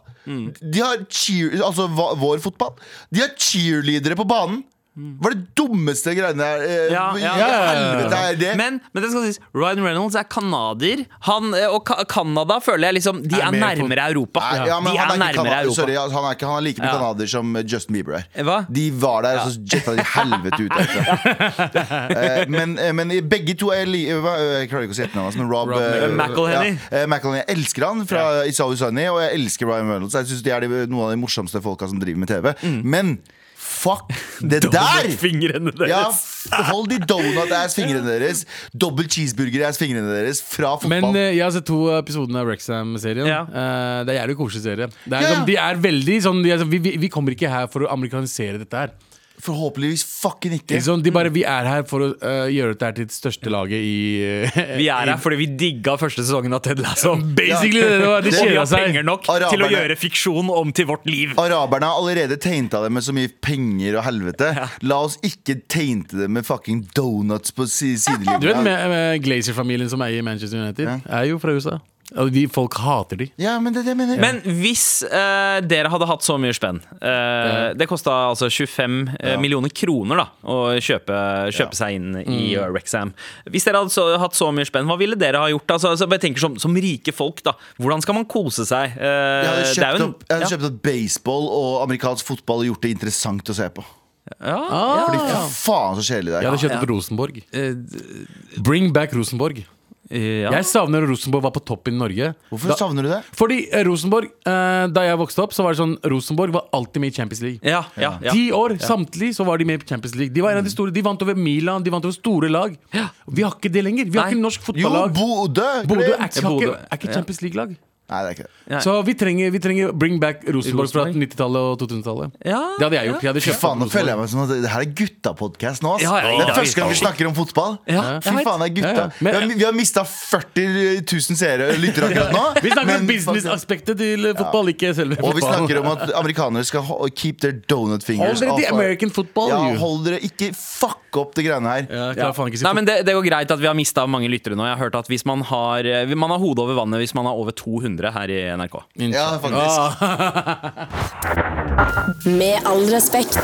De har cheer, altså hva- vår fotball. De har cheerleadere på banen. Hva er det dummeste greiene der? Eh,
Ja, ja,
hva i
ja, ja, ja.
helvete er det?
Men, men det skal sies, Ryan Reynolds er canadier. Han, eh, Og Ka- Canada føler jeg liksom De
Er
er
mer på-
nærmere Europa.
Nei, ja, men
De
han
er
er ikke
nærmere
kanadier. Sorry,
Europa.
altså, han er, ikke, han er like mye
Ja.
kanadier som eh, Justin Bieber er.
Hva?
De var der, og så jetta de helvete ut etter. Eh, men, eh, men begge to er li hva, eh, Jeg klarer ikke å si etternavnet hans, men Rob,
Rob
eh,
McElhenney.
Ja, eh, McElhenney. Jeg elsker han fra It's Always Sunny, og jeg elsker Ryan Reynolds. Jeg synes De er de, noen av de morsomste folka som driver med TV. Men fuck det der!
Mm. Fingrene deres.
Ja, f- hold de donut-ass-fingrene deres. Dobbel cheeseburger-ass-fingrene deres fra
Men
fotball.
eh, jeg har sett to episoder av Rexham-serien.
Ja.
Eh, det er jævlig koselig serie. Det er,
Ja, ja.
sånn, de er veldig sånn de er, sånn, vi, vi, vi kommer ikke her for å amerikanisere dette her.
Forhåpentligvis fucking
Det
ikke.
er Sånn, de
Mm.
bare, vi er her for å eh, gjøre dette her til det største laget i eh,
Vi er her fordi vi digga første sesongen av Ted Lasso.
Basically, det, det var, de
Og vi
kjeda
har
seg.
penger nok til å
Araberne.
gjøre fiksjon om til vårt liv.
Araberne har allerede tegnta det med så mye penger og helvete. La oss ikke tegnte det med fucking donuts på si sidelinja.
Du vet med, med Glazer-familien som eier Manchester United, er jo fra USA. Og de, folk hater de.
Ja, men det er det jeg mener.
Men hvis eh, dere hadde hatt så mye spenn eh, Det kosta altså 25 eh, millioner kroner da å kjøpe, kjøpe seg inn i
Mm.
eh, Rexham. Hvis dere hadde så, hatt så mye spenn, hva ville dere ha gjort? Altså, altså, jeg tenker som, som rike folk, da. Hvordan skal man kose seg? Eh,
jeg hadde
det er
kjøpt
jo en-
opp, jeg hadde kjøpt opp baseball og amerikansk fotball og gjort det interessant å se på.
ja, ja,
Fordi fy faen så kjedelig det
Jeg hadde
er.
kjøpt opp Rosenborg. Bring back Rosenborg.
Eh, ja.
Jeg savner når Rosenborg var på topp i Norge.
Hvorfor
da,
savner du det?
fordi eh, Rosenborg, eh, da jeg vokste opp, så var det sånn Rosenborg var alltid med i Champions League.
ja, ja, ja.
Ti år samtlig så var de med i Champions League. De var en av de store, de vant over Milan, de vant over store lag. Vi har ikke det lenger. Vi har
Nei.
ikke norsk
Jo,
fotballag.
Bodø!
Bodø er,
Glimt.
ikke- har ikke-
Bodø.
er ikke Champions League-lag.
Nei, det er ikke det.
Nei.
Så vi trenger, vi trenger bring back Rosenborg fra
Rosenborg.
90-tallet og 2000-tallet.
Ja,
det hadde jeg gjort. Jeg hadde
Fy
kjøpt
faen, nå
opp
føler
Rosenborg.
jeg meg som at det her er gutta-podkast nå. ass.
Ja, ja, ja.
det er første gang vi snakker om fotball.
Ja,
Fy
jeg vet.
faen, det er gutta.
Ja, ja. Men-
vi, har, vi har mista 40 000 seere og lyttere akkurat nå.
Vi snakker om
men-
business-aspektet til eh, fotball, ikke selve
Og vi
fotballen.
snakker om at amerikanere skal ho- keep their donut fingers
Hold dere til
off-
American football,
Ja,
you.
hold dere ikke fuck opp det greiene her.
Ja, jeg
Ja.
klarer faen ikke å si
Nei, men det, det går greit at vi har mista mange lyttere nå. Jeg har hørt at hvis man har, eh, man har hodet over vannet hvis man har over 200 her i NRK.
fotball.
Ja,
Ah.
faktisk.
Med all respekt.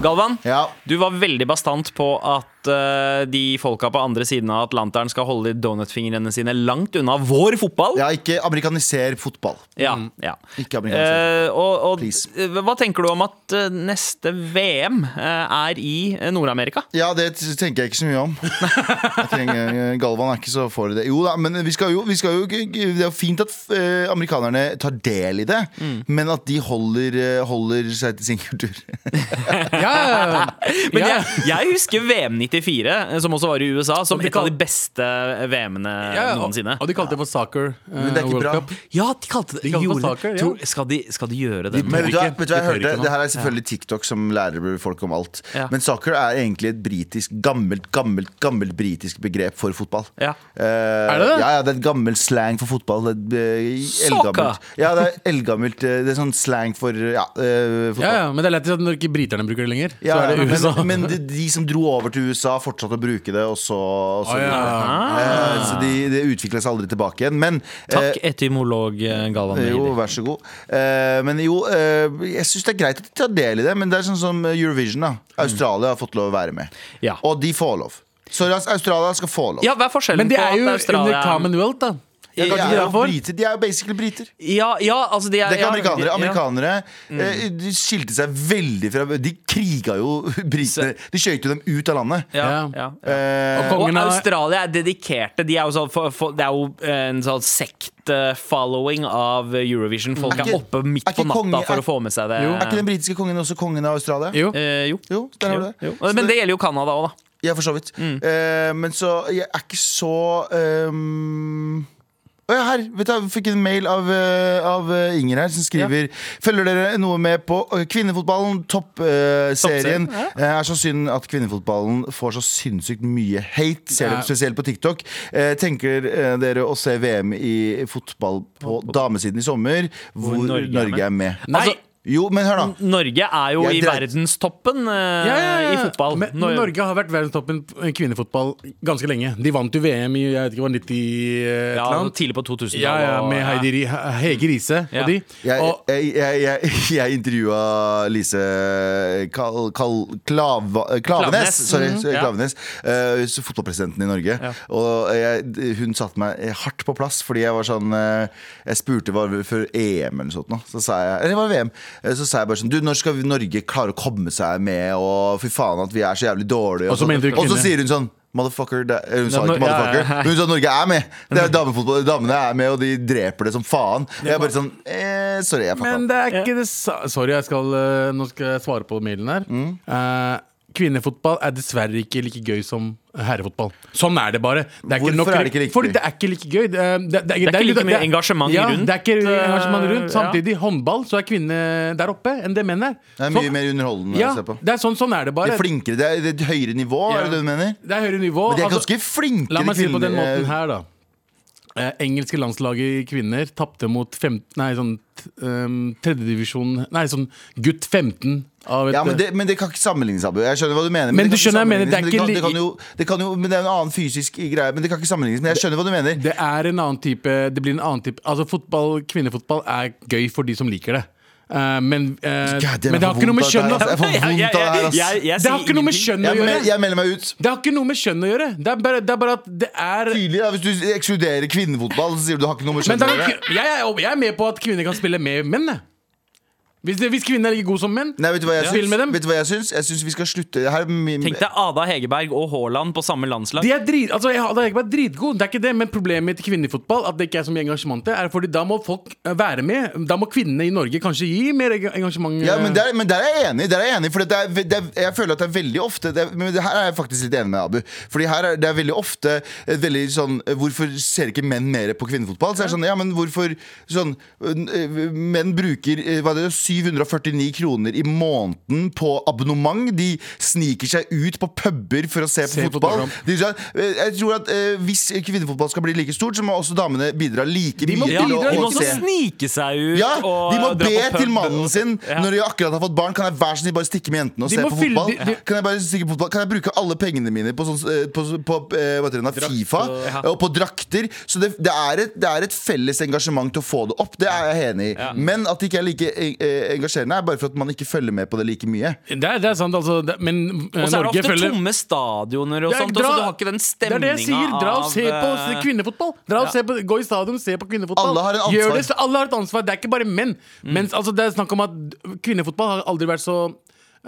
Galvan,
Ja.
du var veldig bastant på at eh, de folka på andre siden av Atlanteren skal holde de donutfingrene sine langt unna vår fotball.
Ja, ikke amerikaniser fotball.
Ja,
Mm.
ja.
Ikke amerikanisert.
Eh, og, og
Please.
eh, hva tenker du om at eh, neste VM eh, er i eh, Nord-Amerika?
Ja, det t- tenker jeg ikke så mye om. Jeg trenger, Galvan er ikke så for det. Jo da, men vi skal jo, vi skal jo ikke- Det er jo fint at eh, amerikanerne tar del i det,
Mm.
men at de holder, eh, holder seg til sin kultur.
Ja, ja, ja.
Men
ja.
jeg, jeg husker VM 94, eh, som også var i USA, som
de
et av
kal-
de beste VM-ene
Ja, ja,
noensinne.
og, og de kalte det for soccer. eh,
Men det er ikke
World
bra.
Cup.
Ja, de kalte det
De kalte det
gjorde det.
saker, ja.
Tror- skal, de, skal de gjøre det?
Men vet du, hva-
ikke.
vet du hva jeg
Det tør
hørte?
ikke nå.
Det her er selvfølgelig TikTok som lærer folk om alt.
Ja.
Men soccer er egentlig et britisk, gammelt, gammelt, gammelt britisk begrep for fotball.
Ja.
Eh,
det det?
Ja, ja, det er et gammelt slang for fotball. Det er, eh,
Soccer!
eldgammelt. Ja, det er eldgammelt. eh, Det er sånn slang for ja, eh,
Ja,
fotball.
ja, men det er lett at når ikke briterne bruker det lenger, så
Ja,
er det USA.
Men, men de, de som dro over til USA, fortsatte å bruke det, og så, og så
Å, ja.
Eh, Så de, det utvikla seg aldri tilbake igjen. Men eh,
Takk, etymolog eh, Galvan
jo,
Mehidi.
vær så god. Eh, men jo, eh, jeg syns det er greit at de tar del i det, men det er sånn som Eurovision. da Australia har fått lov å være med,
Mm. Ja.
og de får lov. Sorry, ass, Australia skal få lov.
Ja, hva er forskjellen
Men de er
på at
jo under
Australia
Commonwealth, da.
de,
kanskje
er jo
derfor?
briter, de er jo basically briter.
Ja, ja, altså de er
Det er ikke
ja,
amerikanere.
ja. Mm.
Amerikanere eh, de skilte seg veldig fra De kriga jo britene. De skjøt jo dem ut av landet.
Ja,
Ja.
ja.
Eh,
Og
Og
kongen har
Australia er dedikerte. De er jo sånn for, for, det er jo en sånn sekt-following av Eurovision. Folk
Er
er,
ikke-
oppe midt
er ikke
på natta
konge- er-
for å få med seg det.
er ikke den britiske kongen også kongen av Australia?
Jo.
Eh, jo.
Jo, der har du
Jo,
det.
jo.
Så
Men det gjelder jo Canada òg, da.
Ja, for så vidt. Eh, men så Jeg er ikke så ehm, Å ja, her! Vet du, jeg fikk en mail av, eh, av eh, Inger her, som skriver Følger dere noe med på eh, kvinnefotballen? Toppserien.
Toppserien,
Det Eh, er så synd at kvinnefotballen får så sinnssykt mye hate, ser
Ja.
dere spesielt på TikTok. Eh, tenker eh, dere å se VM i fotball på damesiden i sommer, hvor,
Norge er
Norge er med?
Nei!
Altså,
Jo, men hør, da.
Norge er jo
Jeg
i
dreit-
verdenstoppen eh, i fotball.
Men
Nor-
Norge har vært verdenstoppen i kvinnefotball ganske lenge. De vant jo VM i jeg vet ikke, det var 90 eh, et
ja,
eller annet.
tidlig på 2000-tallet.
Ja, ja, med
og-
Heidi, Ri- He- Hege Riise
Ja.
og de.
Jeg,
Og,
jeg, jeg, jeg, jeg intervjua Lise Kal, Kal, Klava, eh, Klavenes.
Klavenes, mm,
Sorry, sorry,
ja.
Klavenes eh, s- fotballpresidenten i Norge. Og jeg, hun satte meg hardt på plass, fordi jeg var sånn eh, Jeg spurte var det før EM eller noe sånt. nå, Så sa jeg, eller det var VM. eh, Så sa jeg bare sånn Du, når skal vi- Norge klare å komme seg med, og fy faen at vi er så jævlig dårlige?
Og så mente du
sånt. og så
kvinne.
sier hun sånn Motherfucker det, eh, Hun sa
Nei, men-
ikke
ja, ja,
motherfucker.
ja.
Hun sa at Norge er med. Det er damefotball, Damene er med, og de dreper det som faen. Jeg er bare sånn eh, Sorry, jeg
men
fatta.
det er ikke det sa... Sorry, jeg skal, eh, nå skal jeg svare på mailen her.
Mm.
Eh, kvinnefotball er dessverre ikke like gøy som herrefotball. Sånn er det bare. Det
Hvorfor er det ikke riktig?
Fordi det er ikke like gøy. Det, er- det, det,
Det er ikke like mye engasjement
ja,
rundt,
Det er ikke engasjement rundt.
eh, ja.
Samtidig, håndball, så er kvinne der oppe enn det menn er.
Det er
Sånn-
mye mer underholdende
Ja,
å se på.
det er sånn, sånn er det
De
bare.
er flinkere, det er, det er et høyere nivå, er det det du mener?
Det er høyere nivå.
Men de er
altså-
ganske flinke
La meg si det på den måten her, da. Eh, engelske landslaget i kvinner tapte mot fem, nei, sånn, t- um, tredjedivisjon Nei, sånn gutt 15 av et
Ja, men det, men det kan ikke sammenlignes, Abu. Jeg skjønner hva du mener.
Men
det
du
kan ikke
skjønner, jeg mener, det er
sammenlignes, men
ikke
det kan,
li-
det, kan jo, det kan jo Men det er en annen fysisk greie, men det kan ikke sammenlignes. Men jeg skjønner hva du mener.
Det er en annen type Det blir en annen type Altså fotball, kvinnefotball er gøy for de som liker det. Eh, men, eh,
God damn,
men det
jeg
har
får
ikke noe med
vondt av
kjønn å
det her, altså. Jeg
Jeg- jeg-
får vondt av det her,
jeg-
ass.
jeg- jeg
Det har
sier
ikke noe med
ingenting.
kjønn å
Jeg, mel-
gjøre!
jeg melder meg ut.
Det har ikke noe med kjønn å gjøre! Det er bare, det er bare at det er
Tydelig, da, Hvis du ekskluderer kvinnefotball, så sier du det har ikke noe med
Men
kjønn
det
å
er,
gjøre.
jeg, er- jeg er med på at kvinner kan spille med menn. jeg. Hvis, det- hvis kvinner er like gode som menn,
Nei, vet du hva jeg
spill
syns?
med dem.
Vet du hva jeg syns? Jeg syns vi skal slutte her, er min-
Tenk deg Ada Hegerberg og Haaland på samme landslag.
De er drit, altså jeg, Ada Hegerberg er dritgod, det er ikke det, men problemet mitt i kvinnefotball At det ikke er så mye engasjement til, er fordi da må folk eh, være med. Da må kvinnene i Norge kanskje gi mer eng- engasjement. eh.
Ja, men der, men der er jeg enig. Der er jeg enig for det er, det er, jeg føler at det er veldig ofte det er, Men det her er jeg faktisk litt enig med Abu. Fordi her er det er veldig ofte et veldig sånn Hvorfor ser ikke menn mer på kvinnefotball? Så er det sånn, ja, men hvorfor sånn øh, Menn bruker øh, hva er det, 749 kroner i måneden på abonnement. De sniker seg ut på puber for å se på
Se på
fotball.
program.
De, sier, øh, jeg tror at øh, Hvis kvinnefotball skal bli like stort, så må også damene bidra like
må
mye
Ja,
til
bidra,
å,
de må
å
også
se.
snike seg ut
Ja,
og
de må
dra
be
på pub
til mannen
og-
sin
Ja.
når de akkurat har fått barn. Kan jeg vær så snill bare stikke med jentene og
De
se
må
på
fylle-
fotball?
de- de-
Kan jeg bare stikke på fotball? Kan jeg bruke alle pengene mine på, sånn, eh, på, på eh, hva heter det, da, Fifa
ja.
og på drakter? Så det, det, er et, det er et felles engasjement til å få det opp. Det er jeg enig i. Men at det ikke er like eh, engasjerende, er bare for at man ikke følger med på det like mye.
det, er, det er sant, altså. Det, men eh,
Og så er det
Norge
ofte
følger
tomme stadioner og
Det er-
sånt, og så
dra-
du har ikke den eh,
Det er
stemninga
det jeg sier. Dra og se på s- kvinnefotball. Dra og
ja.
se på, gå i stadion, se på kvinnefotball.
Alle har en
Gjør
ansvar.
det, så alle har et ansvar. Det er ikke bare menn.
Mm.
Mens, altså, det er snakk om at kvinnefotball har aldri vært så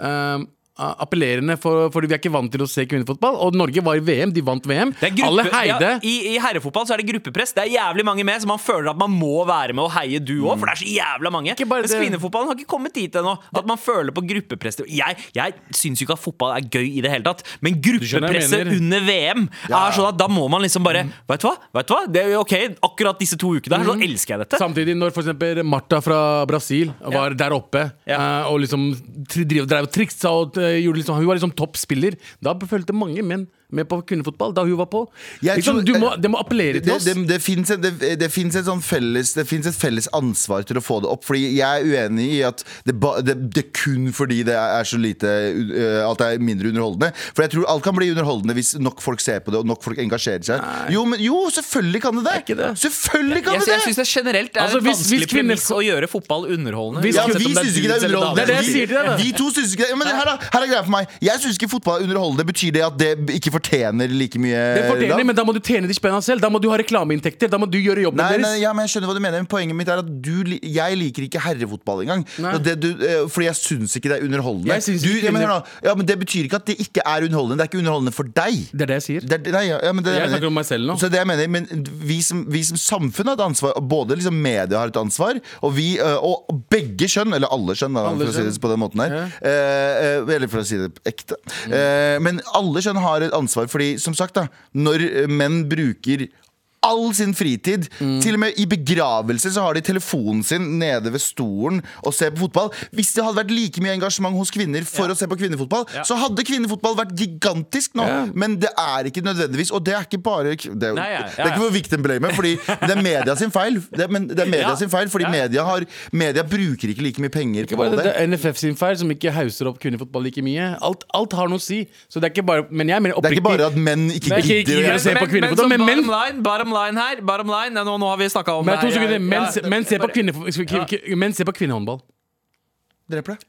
ehm, a- appellerende, for, fordi vi er ikke vant til å se kvinnefotball. Og Norge var i VM, de vant VM.
Det er gruppe,
alle heide.
ja, i, I herrefotball så er det gruppepress. Det er jævlig mange med, så man føler at man må være med og heie du òg, for det er så jævla mange.
Ikke bare
Mens
det-
kvinnefotballen har ikke kommet dit ennå. At man føler på gruppepress. Jeg, jeg syns jo ikke at fotball er gøy i det hele tatt, men
skjønner hva jeg
gruppepresset
mener.
under VM er sånn at da må man liksom bare Vet du hva? Vet du hva? Det er jo OK, akkurat disse to ukene her, så sånn, elsker jeg dette.
Mm. Samtidig når for eksempel Martha fra Brasil var der oppe
Ja.
eh, og liksom tri- drev, drev og triksa og eh, gjorde liksom, Hun var liksom toppspiller. Da følte mange menn med på kvinnefotball da hun var på.
Jeg
Liksom,
tror-
du
eh,
må, det må appellere til
Det, det,
oss.
det, det fins et, det, det finnes et, sånn felles- det finnes et felles ansvar til å få det opp. Fordi jeg er uenig i at det, ba, det, det er kun fordi det er så lite uh, Alt er mindre underholdende. For jeg tror alt kan bli underholdende hvis nok folk ser på det og nok folk engasjerer seg. Jo, men, jo, selvfølgelig kan det det! Selvfølgelig kan
Jeg,
det
jeg
det!
syns det generelt er
Altså,
et
hvis-
vanskelig
hvis kvinner-
premiss å gjøre fotball underholdende.
Hvis-
Ja, altså,
uansett om
vi
sånn det er
syns ikke
dudes
det er
eller
underholdende.
damer.
Det er det jeg sier til deg, da.
Vi to syns ikke det. Ja, Men her, da, her er greia for meg. Jeg syns ikke fotball er underholdende. Betyr det at det ikke fortjener like mye
Det fortjener,
love?
men da må du tjene de spenna selv. Da må du ha reklameinntekter. Da må du gjøre jobben
Nei,
deres.
nei, ja, men jeg skjønner hva du mener Men poenget mitt er at du, li- jeg liker ikke herrefotball engang
Nei.
Og det, du, eh, Fordi jeg synes ikke det er underholdende
Jeg synes
du,
ikke
ja, men,
heller.
hør nå. ja, men det betyr ikke at det ikke er underholdende Det er ikke underholdende for deg
Det er det jeg sier.
det er, nei, ja, ja, men det,
Jeg
mener.
snakker om meg selv nå.
Så det jeg mener, men vi som, vi som samfunn har et ansvar, og både liksom media har et ansvar, og, vi, eh, og begge kjønn, eller alle kjønn, da,
Alle
for å si det
kjønn.
på den måten her, eh, eh, eller for å si det ekte,
Mm.
eh, men alle kjønn har et ansvar, fordi som sagt, da, når eh, menn bruker all sin fritid.
Mm.
Til og med i begravelser så har de telefonen sin nede ved stolen og ser på fotball. Hvis det hadde vært like mye engasjement hos kvinner for å se på kvinnefotball, så hadde kvinnefotball vært gigantisk nå.
Ja.
Men det er ikke nødvendigvis. Og det er ikke bare Det, er jo-
Nei, ja, ja,
det er ikke
ja.
for victim blame, fordi det er media sin feil. Det er, men det er media
Ja.
sin feil, fordi
Ja.
media, har, media bruker ikke like mye penger
Ikke
på
bare det, det
det.
er NFF sin feil, som ikke hauser opp kvinnefotball like mye. Alt, alt har noe å si. Så det er ikke bare Men jeg mener
Det er
oppriktig
ikke bare at menn ikke
Nei, ikke-
gidder å
ikke-
gjøre
se på kvinnefotball,
men, men,
men-
bottom
men-
line, bottom line her bottom line, Nei, nå, nå har vi snakka om
Men
det
to
her,
sekunder.
jeg-
Menn,
ja,
menn, ser på
bare-
kvinne, menn ser på kvinnehåndball.
Dreper det.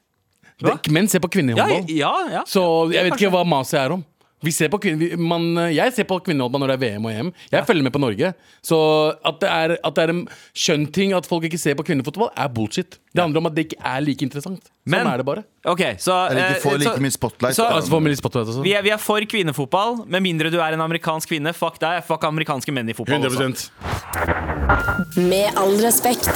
Hva?
Menn ser på
ja,
kvinnehåndball.
ja, ja.
Så jeg vet
kanskje.
ikke hva maset er om. Vi ser på kvinne, vi, man, eh, jeg ser på kvinnehåndball når det er VM og EM. Jeg følger med på Norge. Så at det er, at det er en skjønnting at folk ikke ser på kvinnefotball, er bullshit. Det handler om at det ikke er like interessant. Sånn
Men-
er det bare.
Ok, så
Eller
eh,
ikke får
så-
like mye spotlight.
så-
da.
Altså, for med litt spotlight også.
vi er, vi er for kvinnefotball, med mindre du er en amerikansk kvinne. Fuck deg, fuck amerikanske menn i fotball. også.
Med all respekt.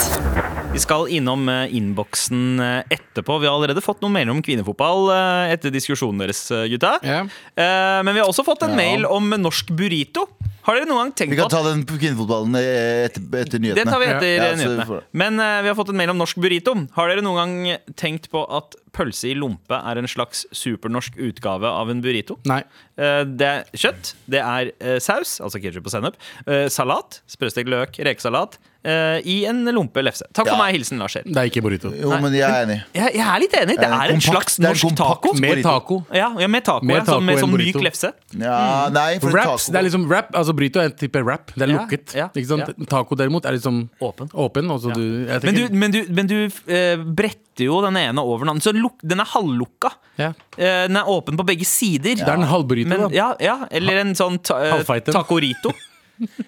Vi skal innom eh, innboksen eh, etterpå. Vi har allerede fått noen mailer om kvinnefotball eh, etter diskusjonen deres, eh, gutta.
Ja.
Eh, Men vi har også fått en
Ja.
mail om norsk burrito. Har dere noen gang
Vi
tenkt
kan
at
ta den på kvinnefotballen eh, etter, etter
Det
nyhetene.
tar vi etter
Ja,
eh,
så vi
nyhetene.
får-
Men eh, vi har fått en mail om norsk burrito. Har dere noen gang tenkt på at pølse i lompe er en slags supernorsk utgave av en burrito?
Nei.
Eh, Det er kjøtt, det er eh, saus, altså ketsjup og sennep, eh, salat, sprøstekt løk, rekesalat, eh, i en lompe lefse. Takk
Ja.
for meg. Hilsen Lars Erik.
Det er ikke burrito.
Jo, men jeg er enig.
Jeg, jeg er litt enig. Det
Eh,
er en
kompakt-
slags
det er en
norsk
kompakt
taco.
med-
Mer
Burrito.
taco.
Ja, ja, med taco.
Mer
ja, sånn,
taco
med
enn
sånn myk
burrito.
lefse.
Ja, nei, for
Wraps,
taco-
Mm. det er liksom wrap, altså Burrito er en type wrap. Det er
Ja,
lukket.
ja,
ikke sant? Taco derimot er liksom
Åpen.
altså
Ja.
du, jeg
Men du,
tenker,
men du, men du eh, bretter jo den ene over den andre. Så luk, den er halvlukka.
Ja.
Eh, den er åpen på begge sider.
Det er en halvburrito,
Men,
da.
ja, ja, eller en sånn ta, eh,
Halvfeiten.
tacorito.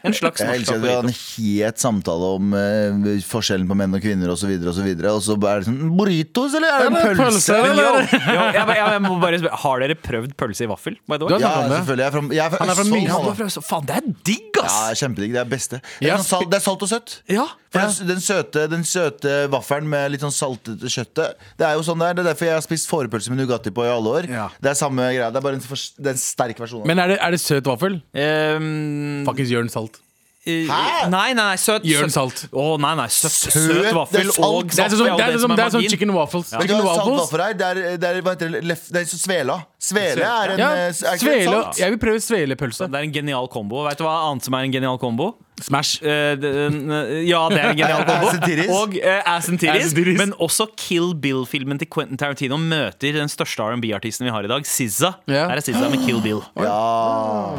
En slags
Jeg
norsk
elsker at vi har en
tacorito.
het samtale om eh, forskjellen på menn og kvinner osv. Og, så videre, og, så videre, og så er det sånn Burritos, eller er det
Er det
en pølse?
pølse,
Men
eller?
yo, yo, jeg, bare- jeg må bare spørre, har dere prøvd pølse i vaffel? by the way?
Du har
Ja,
snakket om det.
selvfølgelig. Jeg er fra, jeg er fra
Han er fra Mysen,
Østfold,
Ja,
han,
du har
da.
prøvd- så Faen, det er digg,
Ja,
ass!
kjempedigg. Det er det beste. Det
Ja,
er, sånn salt, det er salt og søtt.
Ja.
For den, den, søte, den søte vaffelen med litt sånn saltete kjøttet. Det er jo sånn det er. Det er derfor jeg har spist fårepølse med Nugatti på i alle år.
Ja.
Det er samme greia. Det er bare en, for, det er en sterk versjon. av det.
men er det, er det søt vaffel?
Ehm,
Faktisk gjør den salt.
Hæ? Nei, nei, nei, søt
Gjør den
søt-
salt.
Å, nei, nei, søt, søt,
Søt,
vaffel
det er salt.
og
Det er
salt
sånn, det
alt
er
som
sånn, det er sånn
magien.
chicken waffles.
Vet du
Chicken
hva salt
waffles.
vafler er? Det er, det er, hva heter det, lef, det er så svela. Svele er en
Ja,
eh, s- er ikke det
svele,
salt?
jeg vil prøve svelepølse.
Det er en genial kombo. Vet du hva annet som er en genial kombo?
Smash.
Eh, det- eh, ja, det er en genial kombo.
Ass and titties.
Og eh, Ass and Titties.
Ass and titties.
Men også Kill Bill-filmen til Quentin Tarantino møter den største R&B-artisten vi har i dag, SZA.
Ja.
Her er SZA med Kill Bill.
Ja.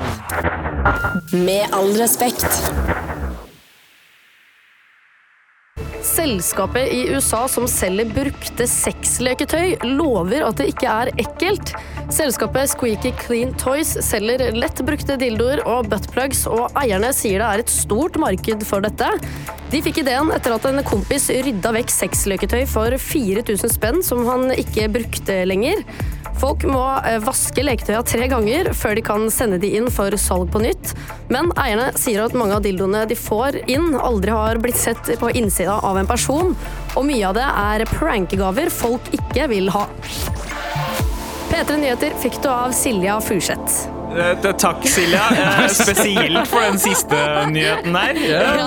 Med all respekt.
Selskapet i USA som selger brukte sexleketøy, lover at det ikke er ekkelt. Selskapet Squeaky Clean Toys selger lett brukte dildoer og buttplugs, og eierne sier det er et stort marked for dette. De fikk ideen etter at en kompis rydda vekk sexleketøy for 4000 spenn som han ikke brukte lenger. Folk må eh, vaske leketøya tre ganger før de kan sende de inn for salg på nytt. Men eierne sier at mange av dildoene de får inn, aldri har blitt sett på innsida av en person. Og mye av det er prankegaver folk ikke vil ha. P3 Nyheter fikk du av Silja Furseth.
Eh, t- Takk, Silja. Eh, Spesielt for den siste nyheten der. Eh,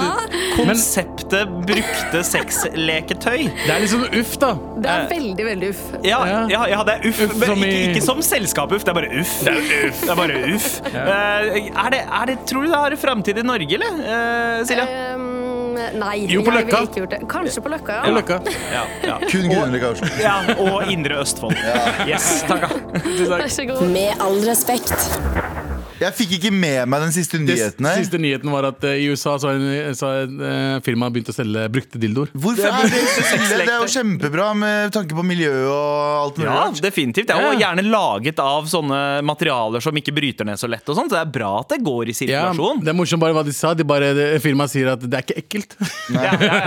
Konseptet brukte sexleketøy.
Det er litt sånn uff, da.
Det er veldig, veldig uff.
Ja,
Ja.
ja, ja, det er uff.
Uff
men
som
ikke,
i-
ikke som selskap-uff, det er bare uff. Det er, bare uff. Eh, er det, er det, tror du det har framtid i Norge, eller? eh, Silja?
Ehm, nei,
Jo, på
jeg ville
Løkka.
ikke gjort det. Kanskje på
Det
Løkka,
er
ja.
Løkka.
Ja, ja.
Kun Grünerløkka, kanskje.
ja, og Indre Østfold. Yes, takka.
Vær så god.
Med all respekt.
Jeg fikk ikke med meg den siste
Det
nyheten her.
Siste nyheten var at eh, i USA så har en, så har en eh, firma begynt å selge brukte dildoer.
Hvorfor er det så ille? Det er jo kjempebra med tanke på miljø og alt mulig
Ja,
rart.
definitivt. Det er jo gjerne laget av sånne materialer som ikke bryter ned så lett. og sånt, Så det er bra at det går i
Ja,
sirkulasjon.
det er morsomt bare hva de sa. De bare, det- Firmaet sier at det er ikke ekkelt.
Ja, ja, ja.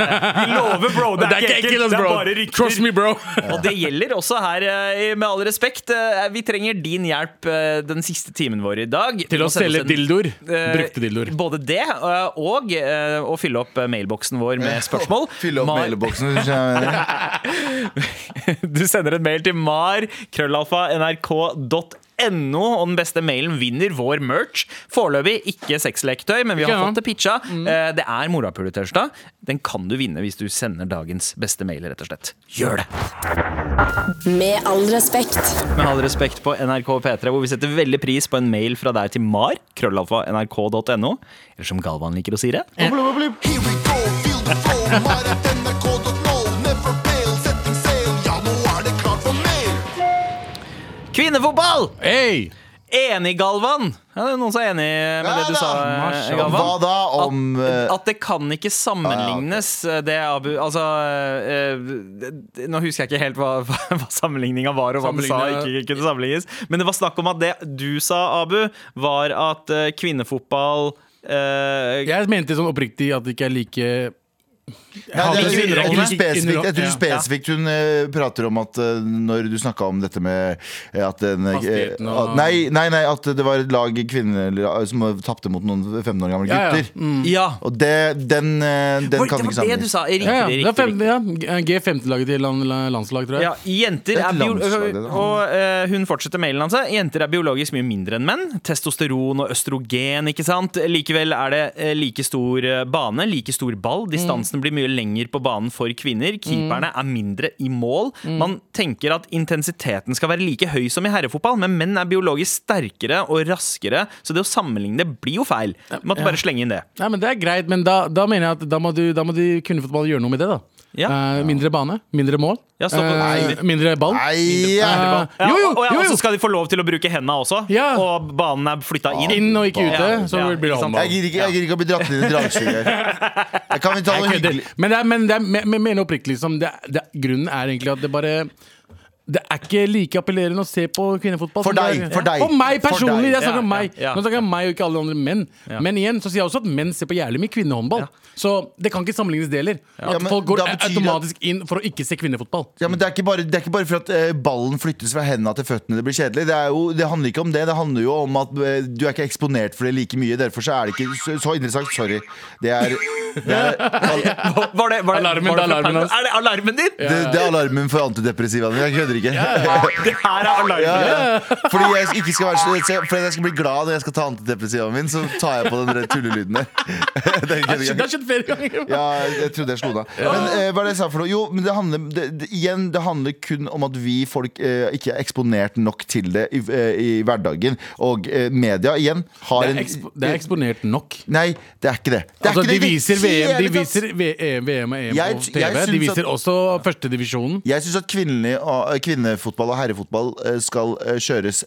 Vi lover, bro. Det er ikke ekkelt. Det er bare
altså, Trust
rykter.
me, bro.
Og det gjelder også her, eh, med all respekt. Eh, Vi trenger din hjelp eh, den siste timen vår i dag. Du
Til
må
å
sende
selge
oss en-
dildoer.
Eh,
Brukte dildoer.
Både det eh, og eh, å fylle opp eh, mailboksen vår med spørsmål.
Fylle opp
Mar-
mailboksen. hvis jeg mener det.
Du sender en mail til mar.krøllalfa.nrk.no. .no, og den beste mailen vinner vår merch. Foreløpig ikke sexleketøy, men vi har
Ja.
fått det pitcha. Eh, Det er morapuletørsdag. Den kan du vinne hvis du sender dagens beste mail, rett og slett. Gjør det!
Med all respekt.
Med all respekt på NRK P3, hvor vi setter veldig pris på en mail fra deg til mar, krøllalfa nrk.no, eller som Galvan liker å si det.
Here we go, feel the flow. Mar at nrk.no. Never fail, setting sail. Ja, nå er det klart for mer.
Kvinnefotball!
Hey!
Enig, Galvan! Ja, det er noen som er enig med
Ja
det du
da.
sa, eh,
Mashallah.
Galvan.
Hva da om eh,
At det kan ikke sammenlignes. Det er Abu Altså eh, eh, Nå husker jeg ikke helt hva, hva hva sammenligninga var, og hva du sa
Sammenligne-
ikke kunne sammenlignes. Men det var snakk om at det du sa, Abu, var at eh, kvinnefotball eh,
Jeg mente sånn oppriktig at det ikke er like
Nei, det
Hater
er, jeg, tror
underholdende.
spesifikt, jeg tror
Ja.
spesifikt hun eh, prater om at eh, når du snakka om dette med eh, at en, eh,
Hastigheten og-
at- nei, nei, nei, at det var et lag kvinner eller, som tapte mot noen 15 år gamle
Ja, ja.
gutter.
Ja. Mm.
Og det, den, eh, Mm. den
Oi,
kan
det
ikke
var det du
sammenlignes.
sa. Riktig,
Ja, ja. Det er
riktig.
fem- ja. G15-laget til land- landslag, tror jeg.
Ja, jenter
Et
er bio
landslag, det da.
og eh, hun fortsetter mailen hans. Jenter er biologisk mye mindre enn menn. Testosteron og østrogen, ikke sant. Likevel er det eh, like stor eh, bane, like stor
Mm.
ball. Distansen blir mye lenger på banen for kvinner. Keeperne er mindre i mål.
Mm.
Man tenker at intensiteten skal være like høy som i herrefotball, men menn er biologisk sterkere og raskere, så det å sammenligne det blir jo feil. Du måtte bare slenge inn det.
Nei, men Det er greit, men da, da mener jeg at da må, du, da må de kunne fotball gjøre noe med det. da
Ja.
Eh, Mindre bane, mindre mål,
Ja, stopp.
eh, mindre ball.
Nei, ja.
Eh,
Ja,
jo, jo,
og, og, ja,
jo,
og så
jo!
skal de få lov til å bruke hendene også,
Ja.
og banen er flytta inn.
Inn og ikke
Ja,
ute, så
ja,
blir det
ikke sant.
håndball.
Jeg gidder ikke, jeg gidder ikke å bli dratt inn i dragsuget her. Jeg Kan vi ta noe
Jeg kødder.
hyggelig?
Men, det er, men det er, men- men mener oppriktig liksom, det, er- det, er- Grunnen er egentlig at det bare det er ikke like appellerende å se på kvinnefotball.
For
som det
deg,
er-
for deg.
For meg
For
personlig!
deg.
Jeg snakker om
Ja,
meg.
ja, ja.
Nå snakker jeg om meg og ikke alle andre menn. Men igjen så sier jeg også at menn ser på jævlig mye kvinnehåndball. Så det kan ikke sammenlignes deler.
Ja,
At
men
folk går
da betyr det-
automatisk inn for å ikke se kvinnefotball.
Ja, men det er, ikke bare, det er ikke bare for at eh, ballen flyttes fra hendene til føttene det blir kjedelig. Det, er jo, det handler ikke om det. Det handler jo om at eh, du er ikke eksponert for det like mye. Derfor så er det ikke så, så interessant. Sorry. Det er, det er
Var det, var det,
Alarmen,
var det
det er alarmen
fra-
hans.
Er det alarmen din?
Det, det er alarmen for antidepressiva. men Jeg kødder ikke.
Det her er alarmen
Ja, ja. Fordi jeg ikke skal være så- så Fordi jeg skal bli glad når jeg skal ta antidepressivaen min, så tar jeg på den der tullelyden der. Den
Det
kødder
har
jeg ikke.
skjedd flere ganger.
Ja, jeg trodde jeg slo deg. Men eh, hva er det jeg sa for noe? Jo, men det handler det, det, igjen, det handler kun om at vi folk eh, ikke er eksponert nok til det i, eh, i hverdagen. Og eh, media igjen har
Det er,
en
ekspo det er eksponert nok.
Nei, det er ikke det. det, er
Altså,
ikke
de
det i det
viser VM, de
hele tatt.
viser V- eh, VM og EM
Jeg-
på TV.
jeg
De
syns at-
viser også førstedivisjonen.
Jeg syns at kvinnelig, og- kvinnefotball og herrefotball eh, skal eh, kjøres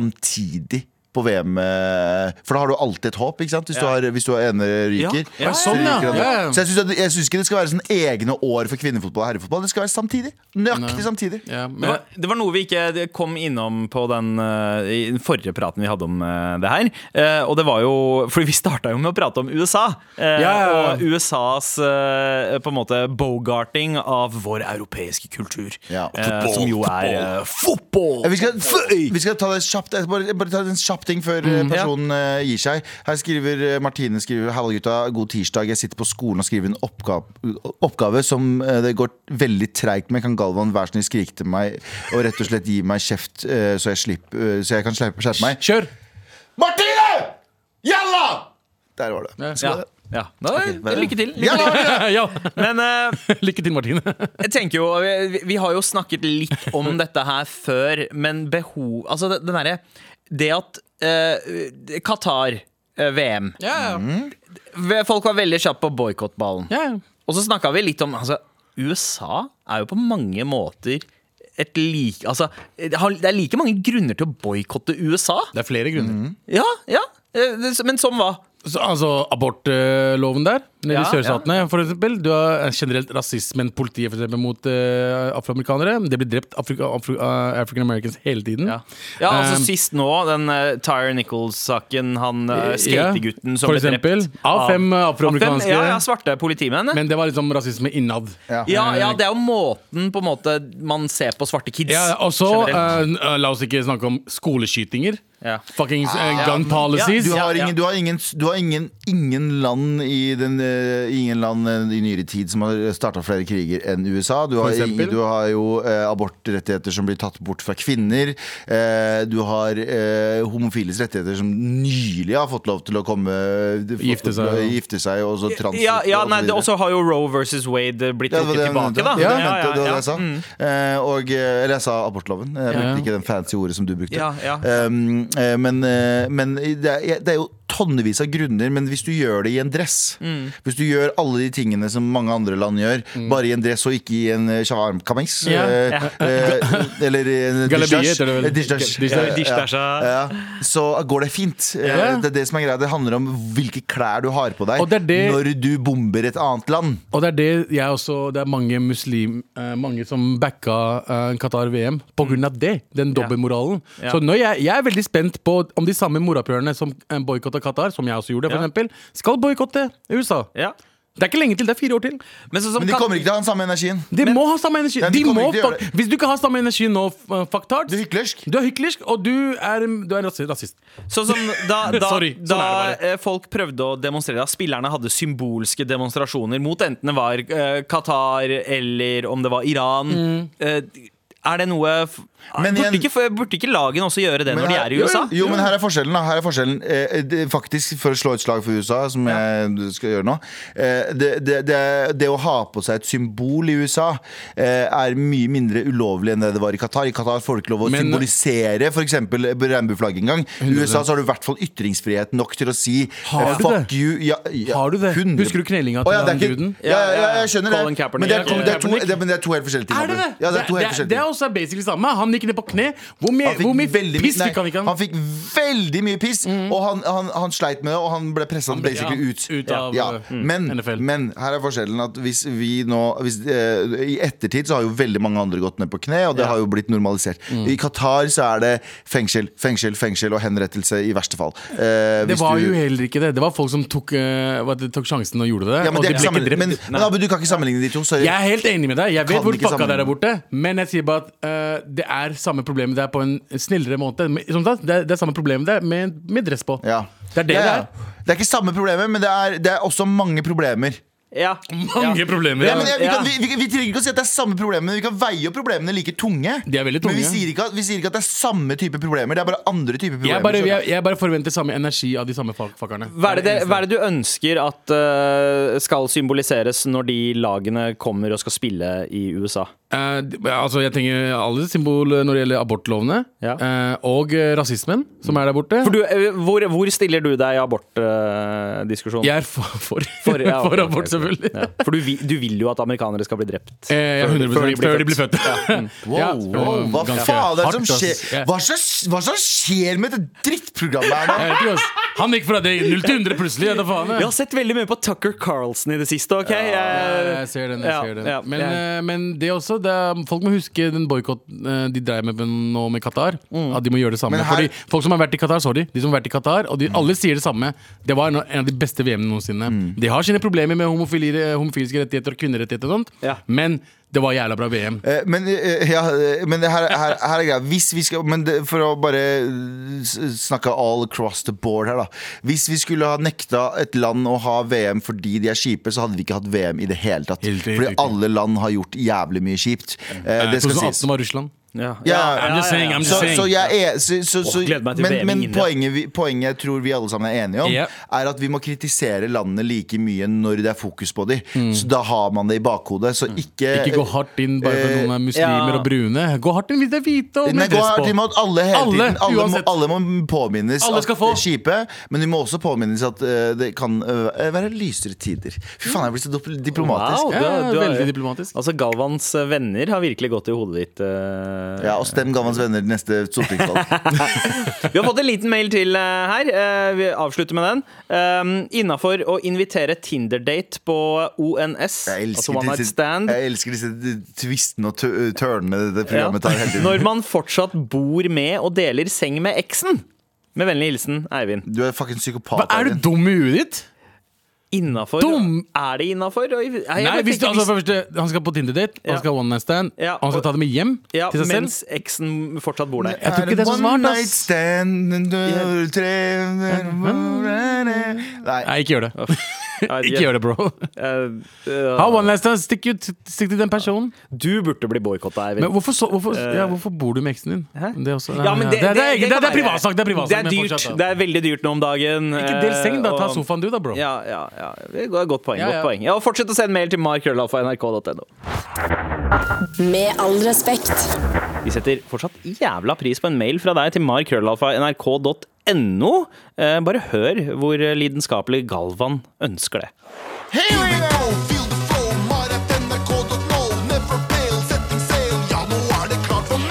samtidig på VM. eh, For da har du alltid et håp, ikke sant? Hvis du, har, hvis du har ene ryker.
Ja,
så
sånn, ja.
ryker andre.
Ja, ja.
Så jeg syns, at, jeg syns ikke det skal være sånn egne år for kvinnefotball og herrefotball. Det skal være samtidig. Nøyaktig samtidig.
Ja, men,
Det var, det var noe vi ikke kom innom på den, eh, i den forrige praten vi hadde om eh, det her. Eh, og det var jo Fordi vi starta jo med å prate om USA. eh,
Ja.
Og USAs eh, på en måte bogarting av vår europeiske kultur.
Ja.
eh, som jo er eh, fotball!
Ja, Vi skal, vi skal ta det kjapt jeg skal bare, bare ta en kjapp ting før eh, personen eh, gir seg. Her skriver eh, Martine skriver, Halla gutta, god tirsdag. Jeg sitter på skolen og skriver en oppgave, oppgave som eh, det går veldig treigt med. Kan Galvan vær så snill skrike til meg og rett og slett gi meg kjeft, eh, så jeg, slipper, eh, så jeg kan skjerpe skjerpe meg?
kjør!
Martine! Jalla! Der var det.
Ja.
Skal det-
ja. Nei, lykke til.
Ja,
ja.
Men eh,
Lykke til, Martine.
jeg tenker jo vi, vi har jo snakket litt om dette her før, men behov Altså det, den derre Det at eh, Qatar eh, VM
Ja,
Folk var veldig kjappe på boikottballen.
ja.
Og så snakka vi litt om altså, USA er jo på mange måter et like, altså, det har- det er like mange grunner til å boikotte USA.
Det er flere grunner.
Mm.
Ja, ja. Eh, det- Men som hva?
Så, altså abortloven der, nede
Ja,
i sørstatene for eksempel. Du har generelt rasismen, politiet for eksempel, mot eh, afroamerikanere. Det blir drept Afrika, Afri, eh, African Americans hele tiden.
Ja, ja altså
Um,
sist nå, den uh, Tyre Nichols-saken, han uh, skategutten
Ja,
som
for
ble
eksempel,
drept
av fem, eh,
av fem,
afroamerikanske-
Ja, ja, svarte politimenn.
Men det var liksom rasisme innad.
Ja.
ja, ja, det er jo måten på en måte man ser på svarte kids.
Ja, og så
generelt.
eh, n- eh, La oss ikke snakke om skoleskytinger.
Ja.
Fucking eh, gun policies.
Ah, Du har,
Ja, ja.
ingen, du har, ingen, du har ingen, ingen land i den, eh, Ingen land eh, i nyere tid som har starta flere kriger enn USA. Du har,
For eksempel?
ingen, du har jo eh, abortrettigheter som blir tatt bort fra kvinner. Eh, du har eh, homofiles rettigheter som nylig har fått lov til å komme eh, fått
Gifte
lov til å
seg, ja.
Gifte seg og så trans...
Ja, ja,
og så
nei, det-
videre.
Og så har jo Roe versus Wade eh, blitt
Ja, det
trukket
var det jeg
tilbake,
mente.
da.
Ja, jeg
Ja,
mente, det var
ja,
det jeg sa.
Mm.
Eh, og, eh, eller jeg sa abortloven. Jeg brukte ikke den fancy ordet som du brukte.
Ja, ja.
Um, eh, men eh, men det, er, det er jo tonnevis av grunner, men hvis du gjør det i en dress
Mm.
Hvis du gjør alle de tingene som mange andre land gjør, bare i en dress og ikke i en eh, shawarma-kamis
Ja.
eh, eh, Eller i en
Galabie
dishdash,
heter det vel.
eh, dishdash,
Dishdash.
eh,
Dishdasha.
ja, så går det fint. Eh,
Ja.
Det er det som er greia. Det handler om hvilke klær du har på deg
Og det er det-
når du bomber et annet land.
Og det er det jeg også Det er mange muslim eh, Mange som backa eh, Qatar-VM på grunn av det. Den dobbeltmoralen.
Ja.
Så nå jeg, jeg er veldig spent på om de samme morapulerne som uh, boikotta Qatar, som jeg også gjorde, for
Ja.
eksempel, skal boikotte USA.
Ja.
Det er ikke lenge til. Det er fire år til.
Men sånn som
Men de
Kat-
kommer ikke til å ha den samme energien.
De må ha samme energi.
Ja, de
de
kommer
må
ikke til å
fuck,
gjøre det.
hvis du ikke har samme energi nå, f- uh, fuck tards
Du er hyklersk.
Du er hyklersk, og du er, du er rasi- rasist.
Sånn som da, da,
Sorry,
da
sånn er det
eh, folk prøvde å demonstrere at spillerne hadde symbolske demonstrasjoner mot enten det var eh, Qatar eller om det var Iran.
Mm.
Eh, er det noe f-
Men
burde,
igjen-
ikke, f- burde ikke lagene også gjøre det
Men
når de
her-
er i USA?
Jo, men her er forskjellen. da Her er forskjellen eh, det, Faktisk, for å slå et slag for USA, som jeg skal gjøre nå eh, det, det, det, det å ha på seg et symbol i USA eh, er mye mindre ulovlig enn det det var i Qatar. I Qatar får du ikke lov å
Men-
symbolisere f.eks. regnbueflagget engang. I USA så har du i hvert fall ytringsfrihet nok til å si
Har
eh,
du
fuck
det?
you. Ja, ja,
Har du det?
100.
Husker du knelinga til
Å, ja, det er
han
ikke-
duden?
Ja, ja, ja, jeg skjønner det.
Colin Kaepernick.
Men det er,
Ja,
det er, to,
Kaepernick.
det, men det er to helt forskjellige ting.
Er det det?
Abu. Ja, det er
det,
to helt
det,
forskjellige
det
ting.
er også basically samme. Han gikk ned på kne. Hvor mye,
Han fikk,
hvor mye
veldig, mye-
piss
nei,
fikk han ikke?
han fikk veldig mye piss, og han, han, han sleit med det, og han ble pressa
ble-
basically
ja,
ut.
ut av,
ja.
eh,
men,
NFL.
men her er forskjellen at hvis vi nå hvis, eh, I ettertid så har jo veldig mange andre gått ned på kne, og det har jo blitt normalisert.
Mm.
I Qatar så er det fengsel, fengsel, fengsel og henrettelse i verste fall. Eh,
Det
hvis
var
du-
jo heller ikke det. Det var folk som tok, eh, hva det- tok sjansen og gjorde det.
ja, men,
og de
det er ikke
ble
sammen-
ikke drept.
men, men Abu, du kan ikke sammenligne de to. Sorry.
jeg er helt enig med deg. Jeg vet
Kan
hvor
ikke
fucka det er der
sammenligne.
borte. Men jeg sier bare at eh, det er samme problemet det er på en snillere måte. Men, Som sagt, det er, det er samme problemet det er med, med dress på.
Ja.
Det er det
Ja, ja.
det er.
Det er ikke samme problemet, men det er, det er også mange problemer.
Ja.
Mange
ja.
problemer.
Ja, men jeg, vi,
Ja.
kan, vi, vi, vi trenger ikke å si at det er samme problemene. Vi kan veie opp problemene like tunge.
De er veldig
Men vi
tunge.
sier, ikke at, vi sier ikke at det er samme type problemer. Det er bare andre typer problemer.
Jeg bare,
Så-
jeg, jeg bare forventer samme energi av de samme fak- fuckerne.
Hva er, det, det- hva er det du ønsker at eh, skal symboliseres når de lagene kommer og skal spille i USA?
Eh, d- altså, jeg trenger alle symbol eh, når det gjelder abortlovene.
Ja.
eh, og eh, rasismen, som er der borte.
For du, eh, hvor, hvor stiller du deg i abortdiskusjonen?
jeg er for, for,
For-
for,
ja, ok, ok,
abort,
ok.
selvfølgelig.
Ja. For du, vil- du vil jo at amerikanere skal bli drept.
Eh, ja,
Før-
100
før de blir Mm.
før de blir født.
Wow,
Ja,
wow, hva
ganske
faen er det som
hardt, ass. Ja.
skjer? Hva slags- Hva som skjer med det drittprogrammet her nå?
Jeg vet ikke, ass. Han gikk fra det 0 til 100 plutselig. Ja, da faen,
Vi har sett veldig mye på Tucker Carlson i det siste. ok?
Ja,
Jeg-
jeg ser den.
Ja,
jeg ser den
ja,
men,
ja.
eh, men det også det er, Folk må huske den boikotten de dreier med nå med Qatar.
Mm.
At de må gjøre det samme.
Men her-
Fordi folk som har vært i Qatar, sorry. De som har vært i Qatar, og de, alle sier det samme. Det var en, en av de beste VM-ene noensinne.
Mm.
De har sine problemer med homofili- homofiliske rettigheter og kvinnerettigheter og sånt,
Ja.
men det var jævla bra VM.
Eh, Men, eh, ja, eh, men det her, her, her er greia. Hvis vi skal Men det, for å bare eh, s- snakke all across the board her, da. Hvis vi skulle ha nekta et land å ha VM fordi de er kjipe, så hadde vi ikke hatt VM i det hele tatt.
Helt riktig.
Fordi alle land har gjort jævlig mye kjipt. Eh, Det skal
2018
sies.
var Russland.
Ja.
Ja, I'm
just saying, I'm just
Så,
saying.
så jeg er så, så, så,
gleder meg til
Men,
VM i
men
India.
poenget, vi, poenget jeg tror vi alle sammen er enige om,
Ja.
er at vi må kritisere landene like mye når det er fokus på dem. Så da har man det i bakhodet. Så ikke
Mm. Ikke gå hardt inn bare
eh,
for noen er muslimer
ja.
og brune. Gå hardt inn hvis det er hvite og
Nei,
med
gå
dress
hardt
på.
imot alle hele
Alle,
tiden. Alle må,
uansett.
alle må påminnes
Alle skal
at
få.
det er kjipe, men vi må også påminnes at eh, det kan eh, være lysere tider. Fy faen, jeg blir så dop- diplomatisk.
Wow, du,
Ja,
du,
veldig diplomatisk.
Altså, Galvans venner har virkelig gått i hodet ditt. eh.
Ja, Og stem Gavans venner til neste stortingsvalg.
Vi har fått en liten mail til eh, her. Eh, vi avslutter med den. Um, Innafor å invitere Tinder-date på ONS, altså
Jeg elsker
One Night
disse,
Stand.
jeg elsker disse tvistene og tø- tørnene dette
Ja.
programmet tar hele tiden.
Når man fortsatt bor med og deler seng med eksen. Med vennlig hilsen Eivind.
Du er fucking psykopat.
Hva, er du
Eivind.
dum i huet ditt?
innafor?
Dum!
Er det innafor?
Nei, hvis du, altså, for det første, Han skal på Tinder-date,
Ja.
han skal ha one night stand,
Ja,
og han skal
og-
ta det med hjem
ja,
til seg selv.
mens eksen fortsatt bor der.
Jeg tror ikke det er så smart,
One night
ass.
stand under tre- Nei.
Nei, ikke gjør det. Ikke gjør det, bro.
Eh,
Ha
eh,
one night stand, stikk ut, stikk til den personen.
du burde bli boikotta, Eivind.
Men hvorfor, så, hvorfor, ja, hvorfor bor du med eksen din? Det er, også, nei,
Eh. Ja, men
nei, det, det, er- det,
kan
er- det er
være.
privatsak. Det er privatsak. men
dyrt.
fortsatt, da.
Det er veldig dyrt nå om dagen. eh,
Ikke del seng, da. Ta
og-
sofaen du, da, bro.
Ja, ja, ja. Det er et Godt poeng.
Ja, ja.
Godt poeng. Ja, og fortsett å sende mail til markrøllalfa.nrk.no.
Med all respekt.
Vi setter fortsatt jævla pris på en mail fra deg til markrøllalfa.nrk.no. Eh, Bare hør hvor lidenskapelig Galvan ønsker det.
Here we go! Feel the flow, mar at nrk.no. Never fail, setting sail. Ja, nå er det klart for mer.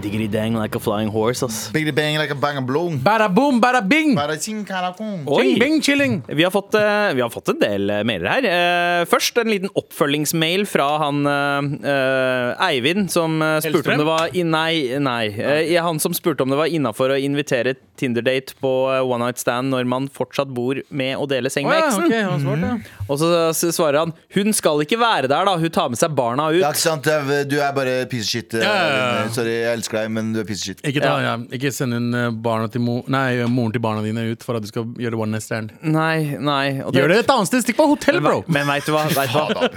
Diggity dang Ah, like a flying horse, ass.
Biggity bang like a bang and blown.
Bada boom, bada bing!
Bada ching, kada kong.
Oi!
Bing, bing, chilling!
Vi har, fått, eh, vi har fått en del eh, mailer her. Eh, Først en liten oppfølgingsmail fra han eh, eh, Eivind som eh, spurte
Hellstrøm?
om det var i- Nei, nei. Eh, ja, han som spurte om det var innafor å invitere Tinder-date på eh, one night stand når man fortsatt bor med å dele seng
Å,
med
ja,
eksen. Mm.
ok, han har svart, ja.
Og så eh, s- svarer han hun skal ikke være der, da. Hun tar med seg barna ut.
Ja, ikke sant? Du er- Du er bare piece of shit. eh,
ja, ja.
Sorry, jeg elsker deg, men du er piece of shit.
Ikke, ta, ja. ikke send inn eh, barna til mo nei, moren til barna dine ut for at du skal gjøre one night stand.
Nei, nei. og det-
Gjør det et annet sted! Stikk på hotell, bro!
Men veit du hva? Vet du hva?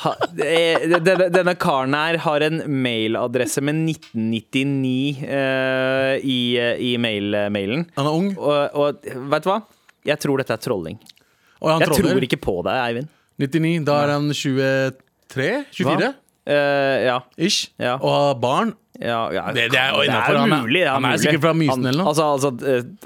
Ha, eh, denne, denne karen her har en mailadresse med 1999 eh, i, i mail, eh, mailen.
Han er ung.
Og, og vet du hva? Jeg tror dette er trolling.
Og han
Jeg tror
troller.
ikke på deg, Eivind.
99. Da er han 23? 24?
Eh, ja.
Ish.
Ja.
Og har barn.
Ja, ja,
Det- det er jo innenfor. Han er-
mulig. det
han er
mulig.
sikkert fra Mysen
Han-
eller noe.
Altså, altså,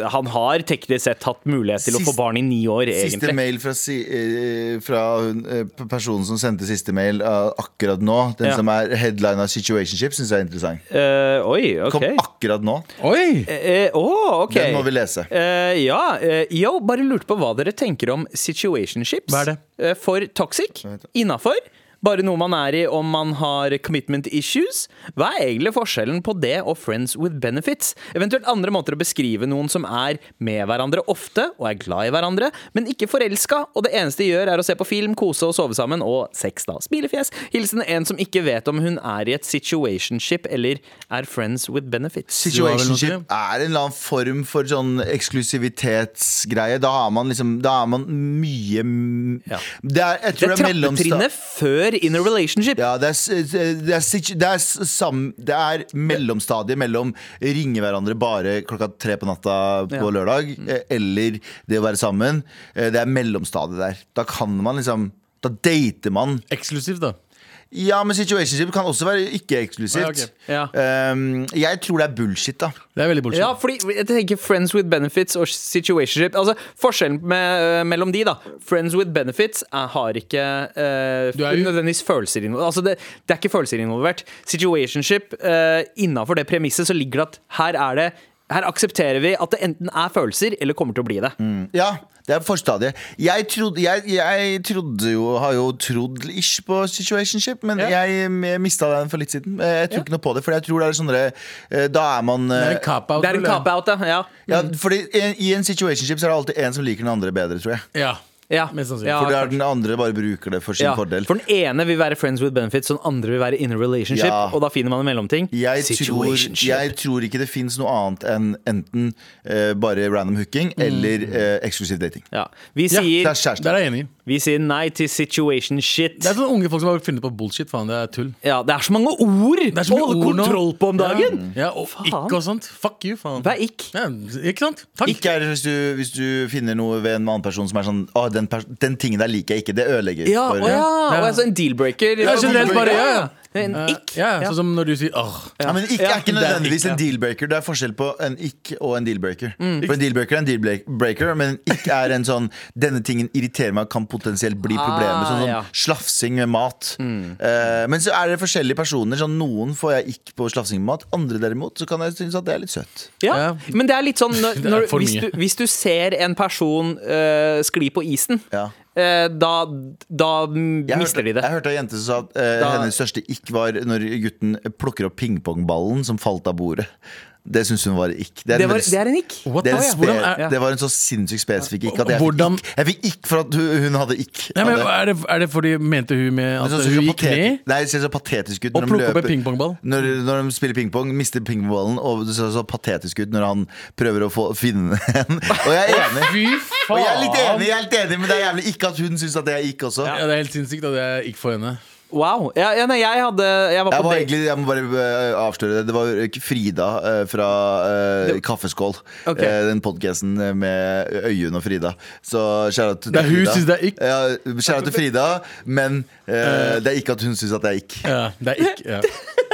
eh, han har teknisk sett hatt mulighet til å
Sist-
få barn i ni år,
Siste
egentlig.
mail fra, si, eh, fra hun, eh, personen som sendte siste mail eh, akkurat nå. Den
Ja.
som er headline av Situationship, syns jeg er interessant.
Eh, oi, OK.
Kom akkurat nå.
Oi!
Å, eh, å, ok.
Den må vi lese.
Eh, ja. eh, yo, bare lurte på hva dere tenker om situationships.
Hva er det?
Eh, for toxic? Innafor? Bare noe man er i om man har commitment issues? Hva er egentlig forskjellen på det og friends with benefits? Eventuelt andre måter å beskrive noen som er med hverandre ofte og er glad i hverandre, men ikke forelska, og det eneste de gjør er å se på film, kose og sove sammen, og sex, da. Smilefjes. Hilsen en som ikke vet om hun er i et situationship eller er friends with benefits.
Situationship
Du
er en eller annen form for sånn eksklusivitetsgreie. Da er man liksom Da er man mye m-
Ja.
Det er, jeg
Det
tror
er
det er mellomsta-
trappetrinnet før in a relationship.
Ja, det er, s- det er, situ- det er, s- sam, det er mellomstadiet mellom ringe hverandre bare klokka tre på natta på
Ja. Mm.
lørdag, eh, eller det å være sammen. Eh, Det er mellomstadiet der. Da kan man liksom Da dater man.
Eksklusivt, da.
Ja, men situationship kan også være ikke-eksklusivt.
Ja, ok.
Ja.
Um, jeg tror det er bullshit, da.
Det er veldig bullshit.
Eh, Ja, fordi jeg tenker Friends with benefits og situationship Altså Forskjellen med, eh, mellom de, da. Friends with benefits er, har ikke eh,
Du er jo-
nødvendigvis følelser involvert. Altså, det, det er ikke følelser involvert. Situationship, uh, innafor det premisset, så ligger det at her er det her aksepterer vi at det enten er følelser eller kommer til å bli det.
Mm.
Ja, det er forstadiet. Jeg trodde, jeg, jeg trodde jo Har jo trodd ish på situationship, men
Ja.
jeg, jeg mista den for litt siden. Eh, Jeg tror ikke noe på det, for jeg tror det er sånn derre, eh, Da er man
Det er
eh,
en cop-out.
Det er en
tror jeg.
cop-out, ja. ja.
ja, fordi en- I en situationship så er det alltid en som liker den andre bedre, tror jeg.
Ja.
ja.
Mest sannsynlig.
ja
For det er den andre bare bruker det for sin
Ja,
fordel.
For den ene vil være friends with benefits, og den andre vil være in a relationship.
Ja.
Og da finner man en mellomting.
Jeg tror, jeg tror ikke det fins noe annet enn enten eh, bare random hooking
Mm.
eller eh, eksklusiv dating.
Ja. Vi,
Ja,
Det
sier,
er kjæreste.
Der er jeg enig.
vi sier nei til situation shit.
Det er sånne unge folk som har funnet på bullshit. Faen, det er tull.
ja, det er så mange ord
Det er så mye
å holde
ord nå.
kontroll på om dagen!
Ja, ja og ikke og sånt. Fuck you, faen.
Hva er ikk?
Ja, ikke sant? Takk.
Ikke er det hvis du, hvis du finner noe ved en annen person som er sånn Å, den, pers den tingen der liker jeg ikke. Det ødelegger.
Ja,
for-
å ja. Og altså en dealbreaker.
Ja, generelt bare, ja, ja.
En
Eh,
ikk.
Ja,
Ja.
sånn som når du sier åh.
Ja, men ikke
Ja,
er ikke
det er
nødvendigvis
ikke,
en deal-breaker. Det er forskjell på en ikke og en deal-breaker.
Mm.
For en deal-breaker er en deal-breaker, men ikke er en sånn 'denne tingen irriterer meg, kan potensielt bli problemet'. Sånn,
Ah,
sånn
ja. Mm.
slafsing med mat. Eh, men så er det forskjellige personer. Sånn, noen får jeg ikke på slafsing med mat, andre derimot så kan jeg synes at det er litt søtt.
Ja.
Ja.
Men det er litt sånn når,
Det er
når,
for
hvis,
mye.
du, hvis du ser en person eh, skli på isen,
Ja.
eh, da, da
Jeg
mister
hørte,
de det.
Jeg hørte ei jente som sa at eh,
Da-
hennes største ikk var når gutten plukker opp pingpongballen som falt av bordet. Det syns hun var ikk. Det er
Det,
en
var,
veldig-
det er en ikk.
What
det, er
the-
en
ja,
spe,
hvordan er-
ja.
det var en så sinnssykt spesifikk ikk at jeg
Hvordan-
fikk ikk. Jeg fikk ikk for at hun, hun hadde ikk.
Nei, men
Av det.
er, det, er det fordi mente hun med at
Men sånn som
hun
ser
gikk
patet-
ned?
Nei, det ser så patetisk ut
Og
når de
plukke opp en
løper-
pingpongball?
Når, når de spiller pingpong, mister pingpongballen, og det ser så patetisk ut når han prøver å få, finne en. Og jeg er enig.
Fy
Og jeg er litt
faen!
enig, jeg er litt enig men det er jævlig ikke at hun syns at det er ikke også.
Ja, det er helt sinnssykt at jeg gikk for henne.
Wow. Ja, ja, nei, jeg hadde Jeg var
Jeg,
på
var
date-
egentlig, jeg må bare eh, avsløre det. Det var eh, Frida eh, fra eh, Kaffeskål.
Ok.
Eh, den podkasten med Øyunn og Frida. Så kjære til
Det er hun synes det er ikk.
Ja, kjære til Frida, men eh, det er ikke at hun syns at det er ikk.
Ja, det er ikke ja.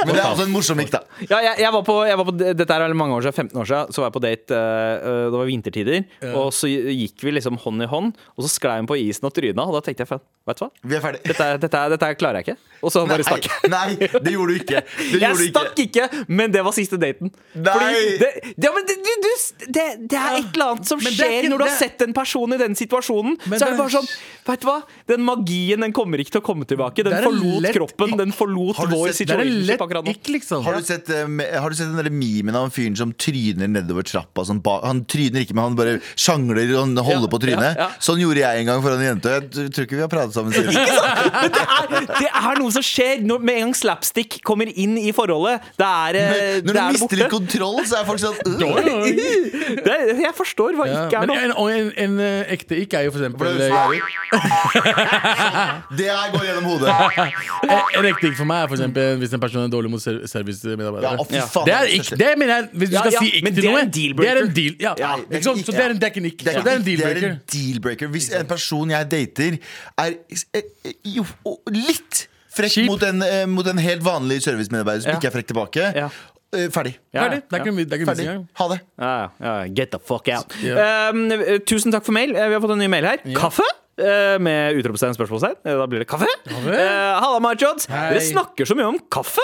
Men det er også en morsom ikk, da.
Ja, jeg, jeg var på, jeg var på Dette er mange år siden, 15 år siden. Så var jeg på date. eh, det var vintertider. Og så gikk vi liksom hånd i hånd, og så sklei hun på isen og tryna. Og da tenkte jeg faen, vet du hva?
Vi er ferdig.
Dette, er- dette, er- dette her klarer jeg ikke. Og så bare stakk jeg.
Nei, det gjorde du ikke. Det gjorde du
Jeg stakk ikke, men det var siste daten.
Nei!
Fordi det, ja, men det, du, du, det, det er et eller annet som
Men det er
skjer
ikke-
når du har
det-
sett en person i den situasjonen.
Men
så er
det-
det bare sånn Vet du hva? Den magien den kommer ikke til å komme tilbake. Den
Det er en
forlot
lett
kroppen.
ikk.
Den forlot
Har du
vår
sett-
Det er en
situationship akkurat
lett
nå.
ikk, liksom.
Har du, sett, eh, me- har du sett den der memen av en fyren som tryner nedover trappa? Sånn ba, han tryner ikke, men han bare sjangler og han holder
Ja,
på trynet.
ja, ja.
Sånn gjorde jeg en gang foran en jente. Jeg t- tror ikke vi har pratet sammen siden.
Men det er, det er noe som skjer når, med en gang slapstick kommer inn i forholdet. Det er, eh, det
Når du
er
mister
borte.
litt kontroll, så er folk sånn øh.
Det, jeg forstår hva
Ja,
ikke er
men
noe.
en, og en, en eh, ekte ikk er jo for eksempel
Ble du
eh,
Det her går gjennom hodet.
En ekte ikk for meg er for eksempel hvis en person er dårlig mot ser-
Ja, å,
servicemedarbeidere.
fy faen.
Det er ikke, det mener jeg Hvis du
Ja,
skal
ja,
si ikk
men
til
det er
noe
en dealbreaker.
Det er en deal ja.
Ja,
det er
ikke sant? Så
ikke-
det er en, det er ikke en ikk
Det er,
Så det er en
det er
dealbreaker
en dealbreaker. Hvis en person jeg dater, er eh, jo, og litt frekk
Kjip.
mot en, eh, mot en helt vanlig servicemedarbeider som
Ja.
ikke er frekk tilbake,
Ja.
eh, ferdig.
Ja,
Ferdig, det er ikke, det er ikke
Ferdig.
mye engang
Ha det.
Ja, ja, ja. Get the fuck out.
Ja.
Um, eh, tusen takk for mail. Eh, Vi har fått en ny mail her. Kaffe? Eh, Med utropstegn og spørsmålstegn. Eh, Da blir det kaffe. Eh, Halla, Marchods.
Hei.
Dere snakker så mye om kaffe,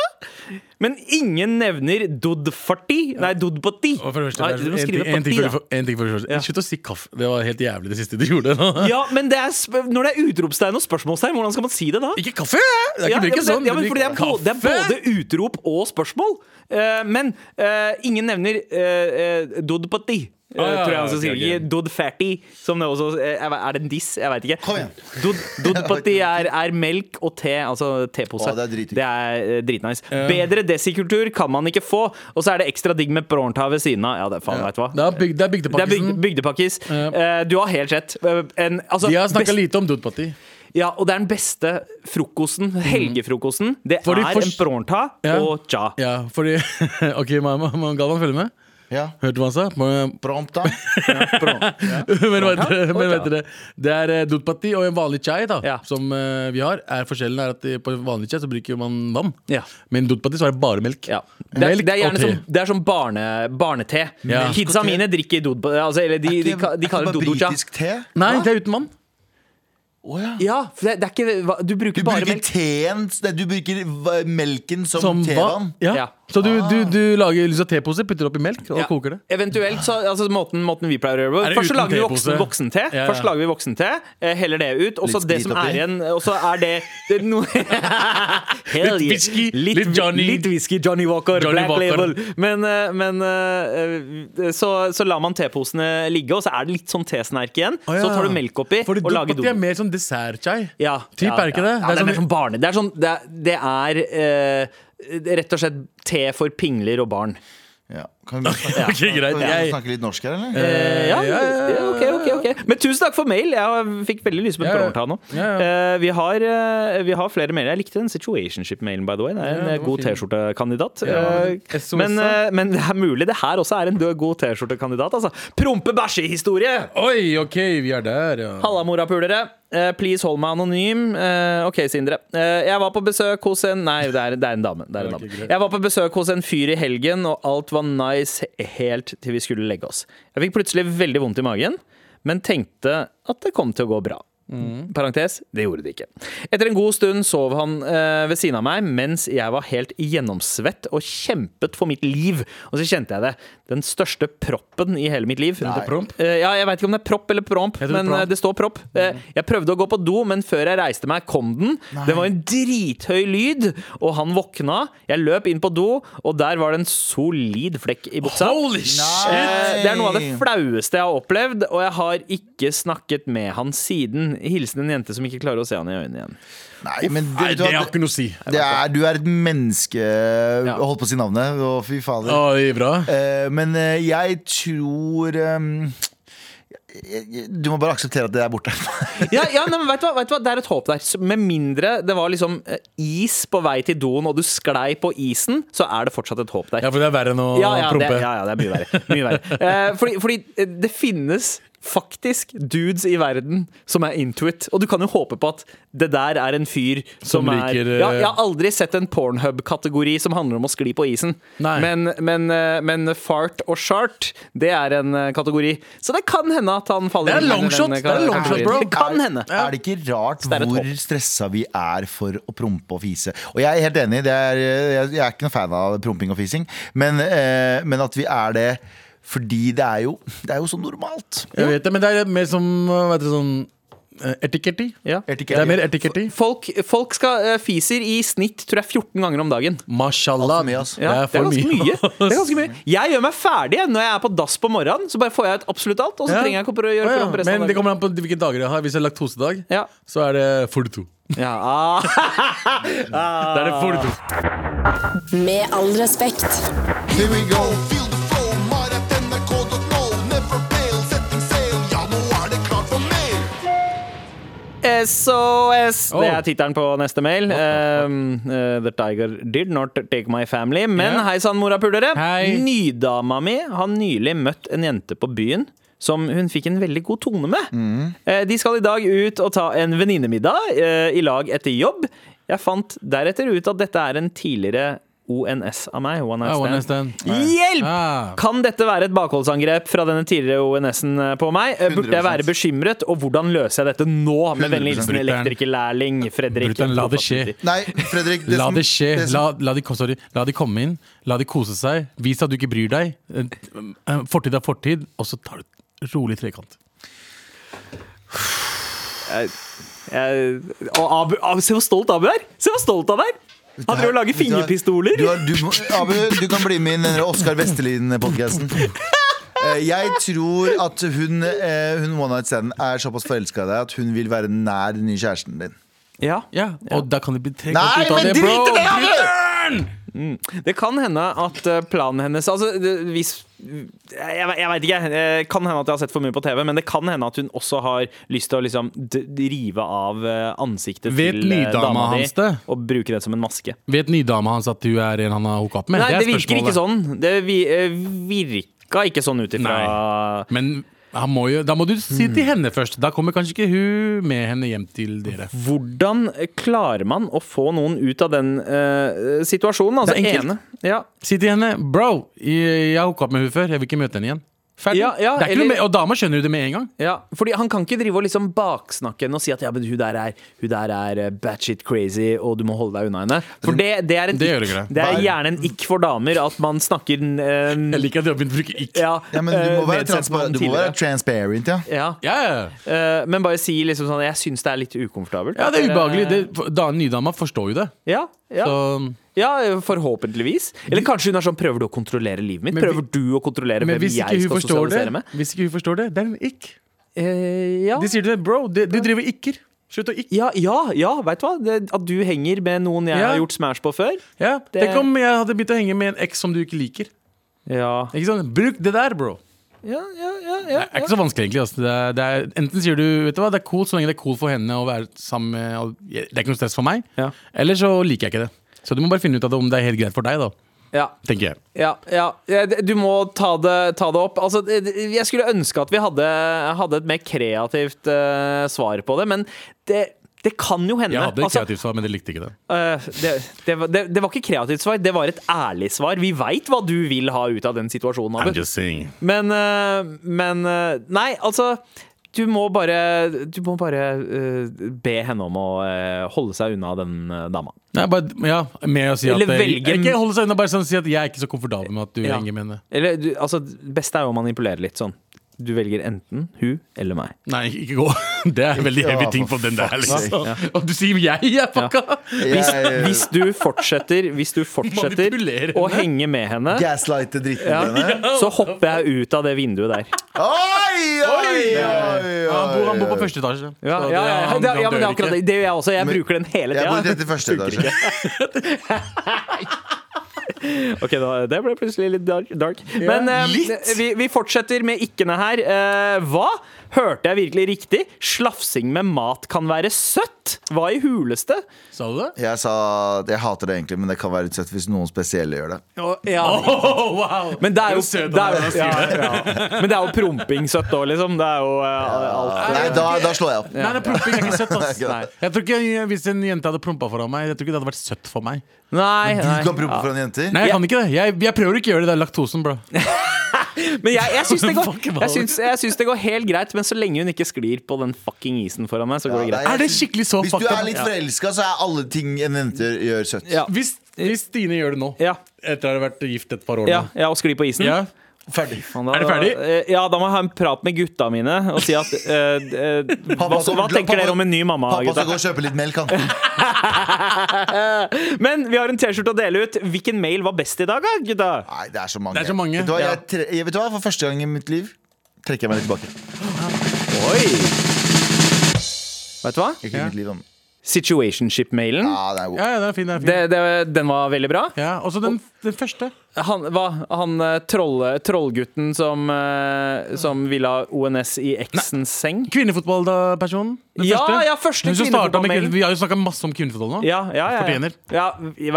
men ingen nevner Dodfarti. Nei, Dodbati.
Og for det første,
Nei,
det
du
er
må
en,
skrive
ting, en, ting
pati,
før
da.
du får- en ting før du forstår
Ja.
Slutt å si kaffe Det var helt jævlig det siste du gjorde nå
Ja, men det er, sp- når det er utropstegn og spørsmålstegn, hvordan skal man si det da?
Ikke kaffe! Det er
Ja,
ikke
ja,
bruker
men det-
sånn
ja, men
det
fordi det, er både, det er
Kaffe?
både utrop og spørsmål. Eh, men eh, ingen nevner uh, Dodpati. eh,
Ah,
tror
ja,
jeg
ja,
han skal
ok,
si.
ok.
Ikke Dodfatti, som det også eh, jeg vet- Er det en diss? Jeg veit ikke.
Kom igjen.
Dod, Dodpati er, er melk og te, altså tepose.
Å, det er dritdigg.
er, eh, dritnice. Bedre desikultur kan man ikke få, og så er det ekstra digg med Brorntau ved siden av. Ja, det er faen, vet du hva.
Det er, bygd, det er
Det er bygde,
bygdepakkisen
bygdepakkis.
Ja.
Eh, du har helt rett. Eh, En, altså,
De har
best-
snakket lite om dudpatti
ja, og det er den beste frokosten, helgefrokosten. Det
Fordi
er
for-
en pronta
Ja.
og ja.
Ja, fordi Ok, man, man, man, Galvan følger med
Ja.
Hørte du hva han sa? Man,
Prompt, da.
men vet dere,
Oi,
men
ja.
vet dere Det er eh, dudpatti og en vanlig chai da,
Ja.
som eh, vi har. Er forskjellen er at eh, på vanlig chai så bruker man vann.
Ja.
Men dudpatti så er det bare melk.
Ja. Det, er,
Melk
det er
og
gjerne
te.
som, det er som barne, barnete.
Ja.
Kidsa mine drikker dod... Altså, eller de, de, ka- de kaller det dodocha.
britisk te?
Nei, det er uten vann.
Å, ja.
Ja, for det, det er ikke hva- Du
Du
bruker bare
bruker
melk.
teen nei, Du bruker va- melken som,
Som vann.
tevann?
Ja.
Ja. Ah.
Så du, du, du lager liksom tepose, putter oppi melk og
Ja.
koker det.
Eventuelt så, altså måten, måten vi pleier å gjøre
Er
det
det
Først så
uten
lager vi
tepose?
voksen, voksente.
Ja, ja.
Først lager vi voksente, eh, heller det ut. Og så
Litt
det
sprit
som
oppi.
er igjen, og så er det, det er noe Hell yeah.
whisky, litt Johnny.
Litt whisky, Johnny Walker,
Johnny
Black
Walker.
Label. Men, eh, men eh, eh, så, så lar man teposene ligge, og så er det litt sånn tesnerk igjen.
Å,
Så
ja.
tar du melk oppi
Fordi
og lager
dudpatti
do.
er mer sånn dessert-chai.
Ja,
Typ,
ja,
er det ikke det?
Ja, det er mer
sånn-
som barne. Det er, sånn, det er, det er eh, rett og slett te for pingler og barn.
Ja. Kan vi snakke,
Ok, greit.
kan vi
Jeg-
snakke litt norsk her, eller?
Eh, ja,
ja, ja,
ja, ok, ok, ok Men tusen takk for mail. Jeg fikk veldig lyst på en
Ja, ja.
pronta nå.
Ja, ja.
Eh, vi, har, eh, vi har flere mailer. Jeg likte den situationship-mailen, by the way. Det er en
Ja, det
eh,
var
god
fin.
T-skjortekandidat. Eh,
SOS.
men, eh, men det er mulig det her også er en død god T-skjortekandidat. Altså. Prompe-bæsje-historie!
Oi, ok, vi er der, ja.
Halla, morapulere. Eh, please hold meg anonym. Eh, ok, Sindre. Eh, jeg var på besøk hos en Nei, det er, det er en dame. Det er en
Ok,
dame.
greit.
Jeg var på besøk hos en fyr i helgen, og alt var nice helt til vi skulle legge oss. Jeg fikk plutselig veldig vondt i magen, men tenkte at det kom til å gå bra.
Mm.
Parentes, det gjorde det ikke. Etter en god stund sov han eh, ved siden av meg mens jeg var helt gjennomsvett og kjempet for mitt liv. Og så kjente jeg det. Den største proppen i hele mitt liv.
promp?
Eh, ja, jeg veit ikke om det er propp eller promp,
Jeg tror
men
promp.
eh, det står propp. Eh, jeg prøvde å gå på do, men før jeg reiste meg, kom den. Det var en drithøy lyd, og han våkna. Jeg løp inn på do, og der var det en solid flekk i buksa.
Holy shit!
Eh, Det er noe av det flaueste jeg har opplevd, og jeg har ikke snakket med han siden. Hilsen en jente som ikke klarer å se han i øynene igjen.
Nei, men
Nei,
det,
det har ikke noe å si.
det er, du er et menneske Holdt på å si navnet. Å, fy fader.
Å, det er bra.
Eh, men eh, jeg tror ehm, jeg- jeg- Du må bare akseptere at det er borte.
Ja, ja nei, men vet du, hva, vet du hva, Det er et håp der. Så Med mindre det var liksom eh, is på vei til doen, og du sklei på isen, så er det fortsatt et håp der.
Ja, for det er verre enn å
Ja, ja, det,
prompe.
ja, ja, det er mye verre. Mye verre. Eh, fordi, fordi eh, det finnes faktisk dudes i verden som er into it. Og du kan jo håpe på at det der er en fyr som,
Som
er
liker, eh,
ja, Jeg har aldri sett en pornhub-kategori som handler om å skli på isen.
Nei.
Men, men, eh, men fart og shart, det er en eh, kategori. Så det kan hende at han faller
Det er
inn under
long
den
shot.
ka-
Det er long shot,
kategorien.
bro.
Det kan hende.
Er det ikke rart
det er et
hvor
håp.
stressa vi er for å prompe og fise? Og jeg er helt enig, det er, jeg, jeg er ikke noen fan av promping og fising, men, eh, men at vi er det fordi det er jo, det er jo så normalt.
Jeg vet det, men det er mer som hva heter det, sånn eh, etiketty.
Ja.
Det er mer etiketty.
Folk, folk skal eh, fiser i snitt tror jeg 14 ganger om dagen.
Mashallah.
Alt for mye, ass.
Det er for
ganske
mye.
mye. Det er ganske mye. Jeg gjør meg ferdig jeg, når jeg er på dass på morgenen. Så bare får jeg ut absolutt alt, og så
Ja.
trenger jeg ikke å prøve å gjøre
Å, ja.
program på resten
Men
av
det
dagen.
kommer an på hvilke dager jeg har. Hvis jeg har laktosedag,
Ja.
så er det 42.
Ja, ah.
Da er det 42.
Med all respekt.
Here we go. Feel the flow, mar at nrk.no. Never fail, setting sail. Ja, nå er det klart for mail.
Eh, SOS!
Oh.
Det er tittelen på neste mail. Um, uh, the Tiger did not take my family. Men
Ja.
hei sann, morapulere.
Hei.
Nydama mi har nylig møtt en jente på byen. Som hun fikk en veldig god tone med.
Mm.
Eh, De skal i dag ut og ta en venninnemiddag eh, i lag etter jobb. Jeg fant deretter ut at dette er en tidligere ONS av meg. One night
Ja,
stand.
Ah, one night stand.
Hjelp!
Ah.
Kan dette være et bakholdsangrep fra denne tidligere ONS-en eh, på meg? Burde jeg
100%.
være bekymret, og hvordan løser jeg dette nå? Med vennlig hilsen
100%.
elektrikerlærling Fredrik.
Brutter'n, la det skje.
Nei, Fredrik det
La
som-
det skje.
det som-
La, la, de, kom- sorry. la de komme inn. La de kose seg. Vis at du ikke bryr deg. Eh, eh, Fortid er fortid, og så tar du et rolig trekant.
Jeg- og Abu, Abu, se hvor stolt Abu er! Se hvor stolt han er! Han driver og lager fingerpistoler.
Du, har- du, må- Abu, du kan bli med i den Oskar Vestelin-podkasten. Eh, Jeg tror at hun, eh, hun one night stand er såpass forelska i deg at hun vil være nær den nye kjæresten din.
Ja.
Ja, Og da kan det bli trekant
Nei,
ut av
men
det,
drit
bro!
i det, Abu!
Det kan hende at eh, planen hennes Altså, det- hvis Jeg, jeg veit ikke. eh, Kan hende at jeg har sett for mye på TV, men det kan hende at hun også har lyst til å liksom d- rive av eh, ansiktet
Vet
til eh,
nydama
dama di
hans det?
og bruke det som en maske.
Vet nydama hans at du er en han har hooka opp med?
Nei,
er
det virker ikke
spørsmålet.
sånn. Det vi, eh, virka ikke sånn ut ifra
Men han må jo, da må du si til henne først. Da kommer kanskje ikke hun med henne hjem til dere.
Hvordan klarer man å få noen ut av den eh, situasjonen? Altså,
Det er enkelt.
ene- Ja,
Si til henne Bro, jeg jeg har hooka opp med hun før. Jeg vil ikke møte henne igjen. Ferdig.
Ja, ja,
det er ikke
eller-
noe mer, og dama skjønner jo det med en gang.
Ja, fordi han kan ikke drive og liksom baksnakke henne og si at ja, men hun der er, hun der er eh, batshit crazy, og du må holde deg unna henne. For det, det, er, en
Det gjør
ikk.
ikke det.
det er gjerne en ikk for damer at man snakker eh,
Jeg liker at du har begynt å bruke ikke.
ja,
Ja, men du må
eh,
være,
nedsettende om
transpa- du må
tidligere.
være transparent, ja.
ja.
Ja, ja.
eh, men bare si liksom sånn Jeg syns det er litt ukomfortabelt.
ja, det er ubehagelig.
Eh,
Det, for- da, nydama forstår jo det.
ja, ja,
Så,
ja, forhåpentligvis. Eller kanskje hun er sånn Prøver du å kontrollere livet mitt?
Men vi-
Prøver du å kontrollere
men
hvem
hvis ikke
jeg
hun
skal
forstår det,
sosialisere med?
Hvis ikke hun forstår det, det er en ikk.
Eh, ja.
De sier til deg bro, det, du driver ikker. Slutt å ikke.
Ja, ja, ja veit du hva? Det, at du henger med noen jeg
Ja.
har gjort Smash på før.
Ja,
Det-
Tenk om jeg hadde begynt å henge med en eks som du ikke liker.
Ja,
Ikke sant? Bruk det der, bro.
ja, ja, ja, ja.
Det er ikke så vanskelig, egentlig. Altså. Det er, det er, enten sier du vet du hva, det er cool så lenge det er cool for henne å være sammen med og Det er ikke noe stress for meg.
Ja.
Eller så liker jeg ikke det. Så du må bare finne ut av det om det er helt greit for deg, da.
ja.
Tenker jeg.
Ja, ja. Eh, d- Du må ta det, ta det opp. Altså, d- d- jeg skulle ønske at vi hadde, hadde et mer kreativt eh, svar på det, men det, det kan jo hende.
Jeg hadde et
Altså,
kreativt svar, men de likte ikke det.
eh, det, det, var- det, det var ikke kreativt svar, det var et ærlig svar. Vi veit hva du vil ha ut av den situasjonen. Abu.
just saying.
Men, eh, men eh, Nei, altså du må bare, du må bare eh, be henne om å eh, holde seg unna den eh, dama.
Nei, bare, ja, med å si at
Eller velge-
Ikke holde seg unna, bare sånn si at jeg er ikke så komfortabel med at du
Ja.
henger med henne.
Eller du, altså, det beste er jo å manipulere litt sånn. Du velger enten hun eller meg.
Nei, ikke gå. Det er veldig
Ja,
heavy ting
for
på den der.
fuck's
Liksom. Og du sier jeg er fucka!
Hvis,
Jeg- eh,
hvis du fortsetter, hvis du fortsetter
Manipulere
å
henne.
henge med henne,
Gaslighte dritten
ja,
din. her.
så hopper jeg ut av det vinduet der.
Oi, oi, oi,
Ja, Han bor, han bor på
oi.
første etasje.
Ja,
Så
ja, ja,
han-
det,
han
ja, men det
dør
er akkurat
ikke.
det. Det gjør jeg også. Jeg bruker den hele
Jeg bor rett
tida.
i første etasje.
Ok, da, det ble plutselig litt dark. dark. Men eh, Vi, vi fortsetter med ikke-ene her. Eh, hva? Hørte jeg virkelig riktig? Slafsing med mat kan være søtt? Hva i huleste?
Sa du det?
Jeg sa at jeg hater det egentlig, men det kan være utsett hvis noen spesielle gjør det.
Oh, wow.
Men det er jo,
søt altså.
det er
han
jo,
er,
ja, ja. Men det er jo promping søtt òg, liksom. Det er jo eh, alt
Nei, da, da slår jeg opp.
Nei, nei, promping er ikke søtt, ass.
Nei.
Jeg tror ikke jeg- Hvis en jente hadde prompa foran meg, jeg tror ikke det hadde vært søtt for meg.
Nei,
Du
nei.
kan prompe foran jenter.
Nei, jeg kan ikke det. Jeg, jeg prøver å ikke gjøre det. Det er laktosen, bro.
Men jeg, jeg syns det, går-
Fuck, hva?
jeg syns- jeg syns det går helt greit, men så lenge hun ikke sklir på den fucking isen foran meg, så går det
Ja,
greit.
nei,
Er det skikkelig så
Hvis du
fucked
er
up?
litt
Ja.
forelska, så er alle ting en jente gjør, søtt.
Ja.
Hvis, hvis Stine gjør det nå,
Ja,
etter å ha vært gift et par år
ja,
nå
ja, og skli på isen.
Ja.
Ferdig.
Faen, da-
Er det ferdig?
Eh, Ja, da må jeg ha en prat med gutta mine og si at eh, eh, hva,
Pappa skal-
hva tenker
pappa-
dere om en ny mamma,
Pappa skal gå
gutta?
og kjøpe litt melk, han.
Eh, Men vi har en T-skjorte å dele ut. Hvilken mail var best i dag, da, gutta?
Nei, det er så mange.
Det er så mange.
Vet, du hva,
Ja.
jeg, tre- jeg, vet du hva, for første gang i mitt liv trekker jeg meg litt tilbake.
Oi! Vet du hva?
Ikke mitt liv, men.
Situationship-mailen.
Ja, det er god.
Ja, ja, den er fin. Den er fin.
Det, det, den var veldig bra.
Ja, også den, den første.
Han, hva, han eh, trolle, trollgutten som, eh, som ville ha ONS i eksens seng?
Kvinnefotballpersonen. Den
Ja,
første.
ja, første
Hun som startet med
kvinnefotballmailen.
kvinne- Vi har jo snakka masse om kvinnefotball nå.
Ja, ja, ja, ja.
Fortjener.
ja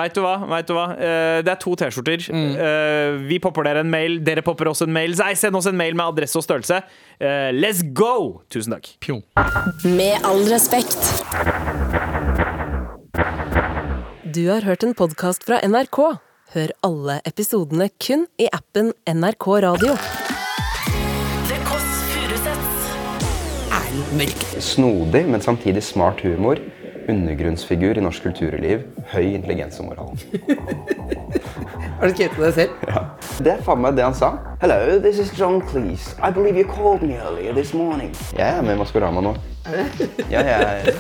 veit du hva? Vet du hva? Eh, det er to T-skjorter.
Mm.
Eh, vi popper dere en mail, dere popper oss en mail. Nei, send oss en mail med adresse og størrelse. Eh, let's go! Tusen takk.
Pjong.
Med all respekt.
Du har hørt en podkast fra NRK. Hør alle episodene kun i appen NRK Radio.
Snodig, men samtidig smart humor. Undergrunnsfigur i norsk kulturliv. Høy intelligens og moral.
Har du skrevet på deg selv?
Det er faen meg det han sa. Hello, this is John Cleese. I believe you called me earlier this morning. Jeg er med i Maskorama nå. Ja, jeg...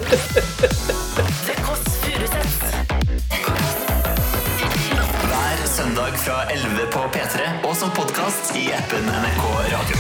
Hver søndag fra 11 på P3 og som podkast i appen NRK Radio.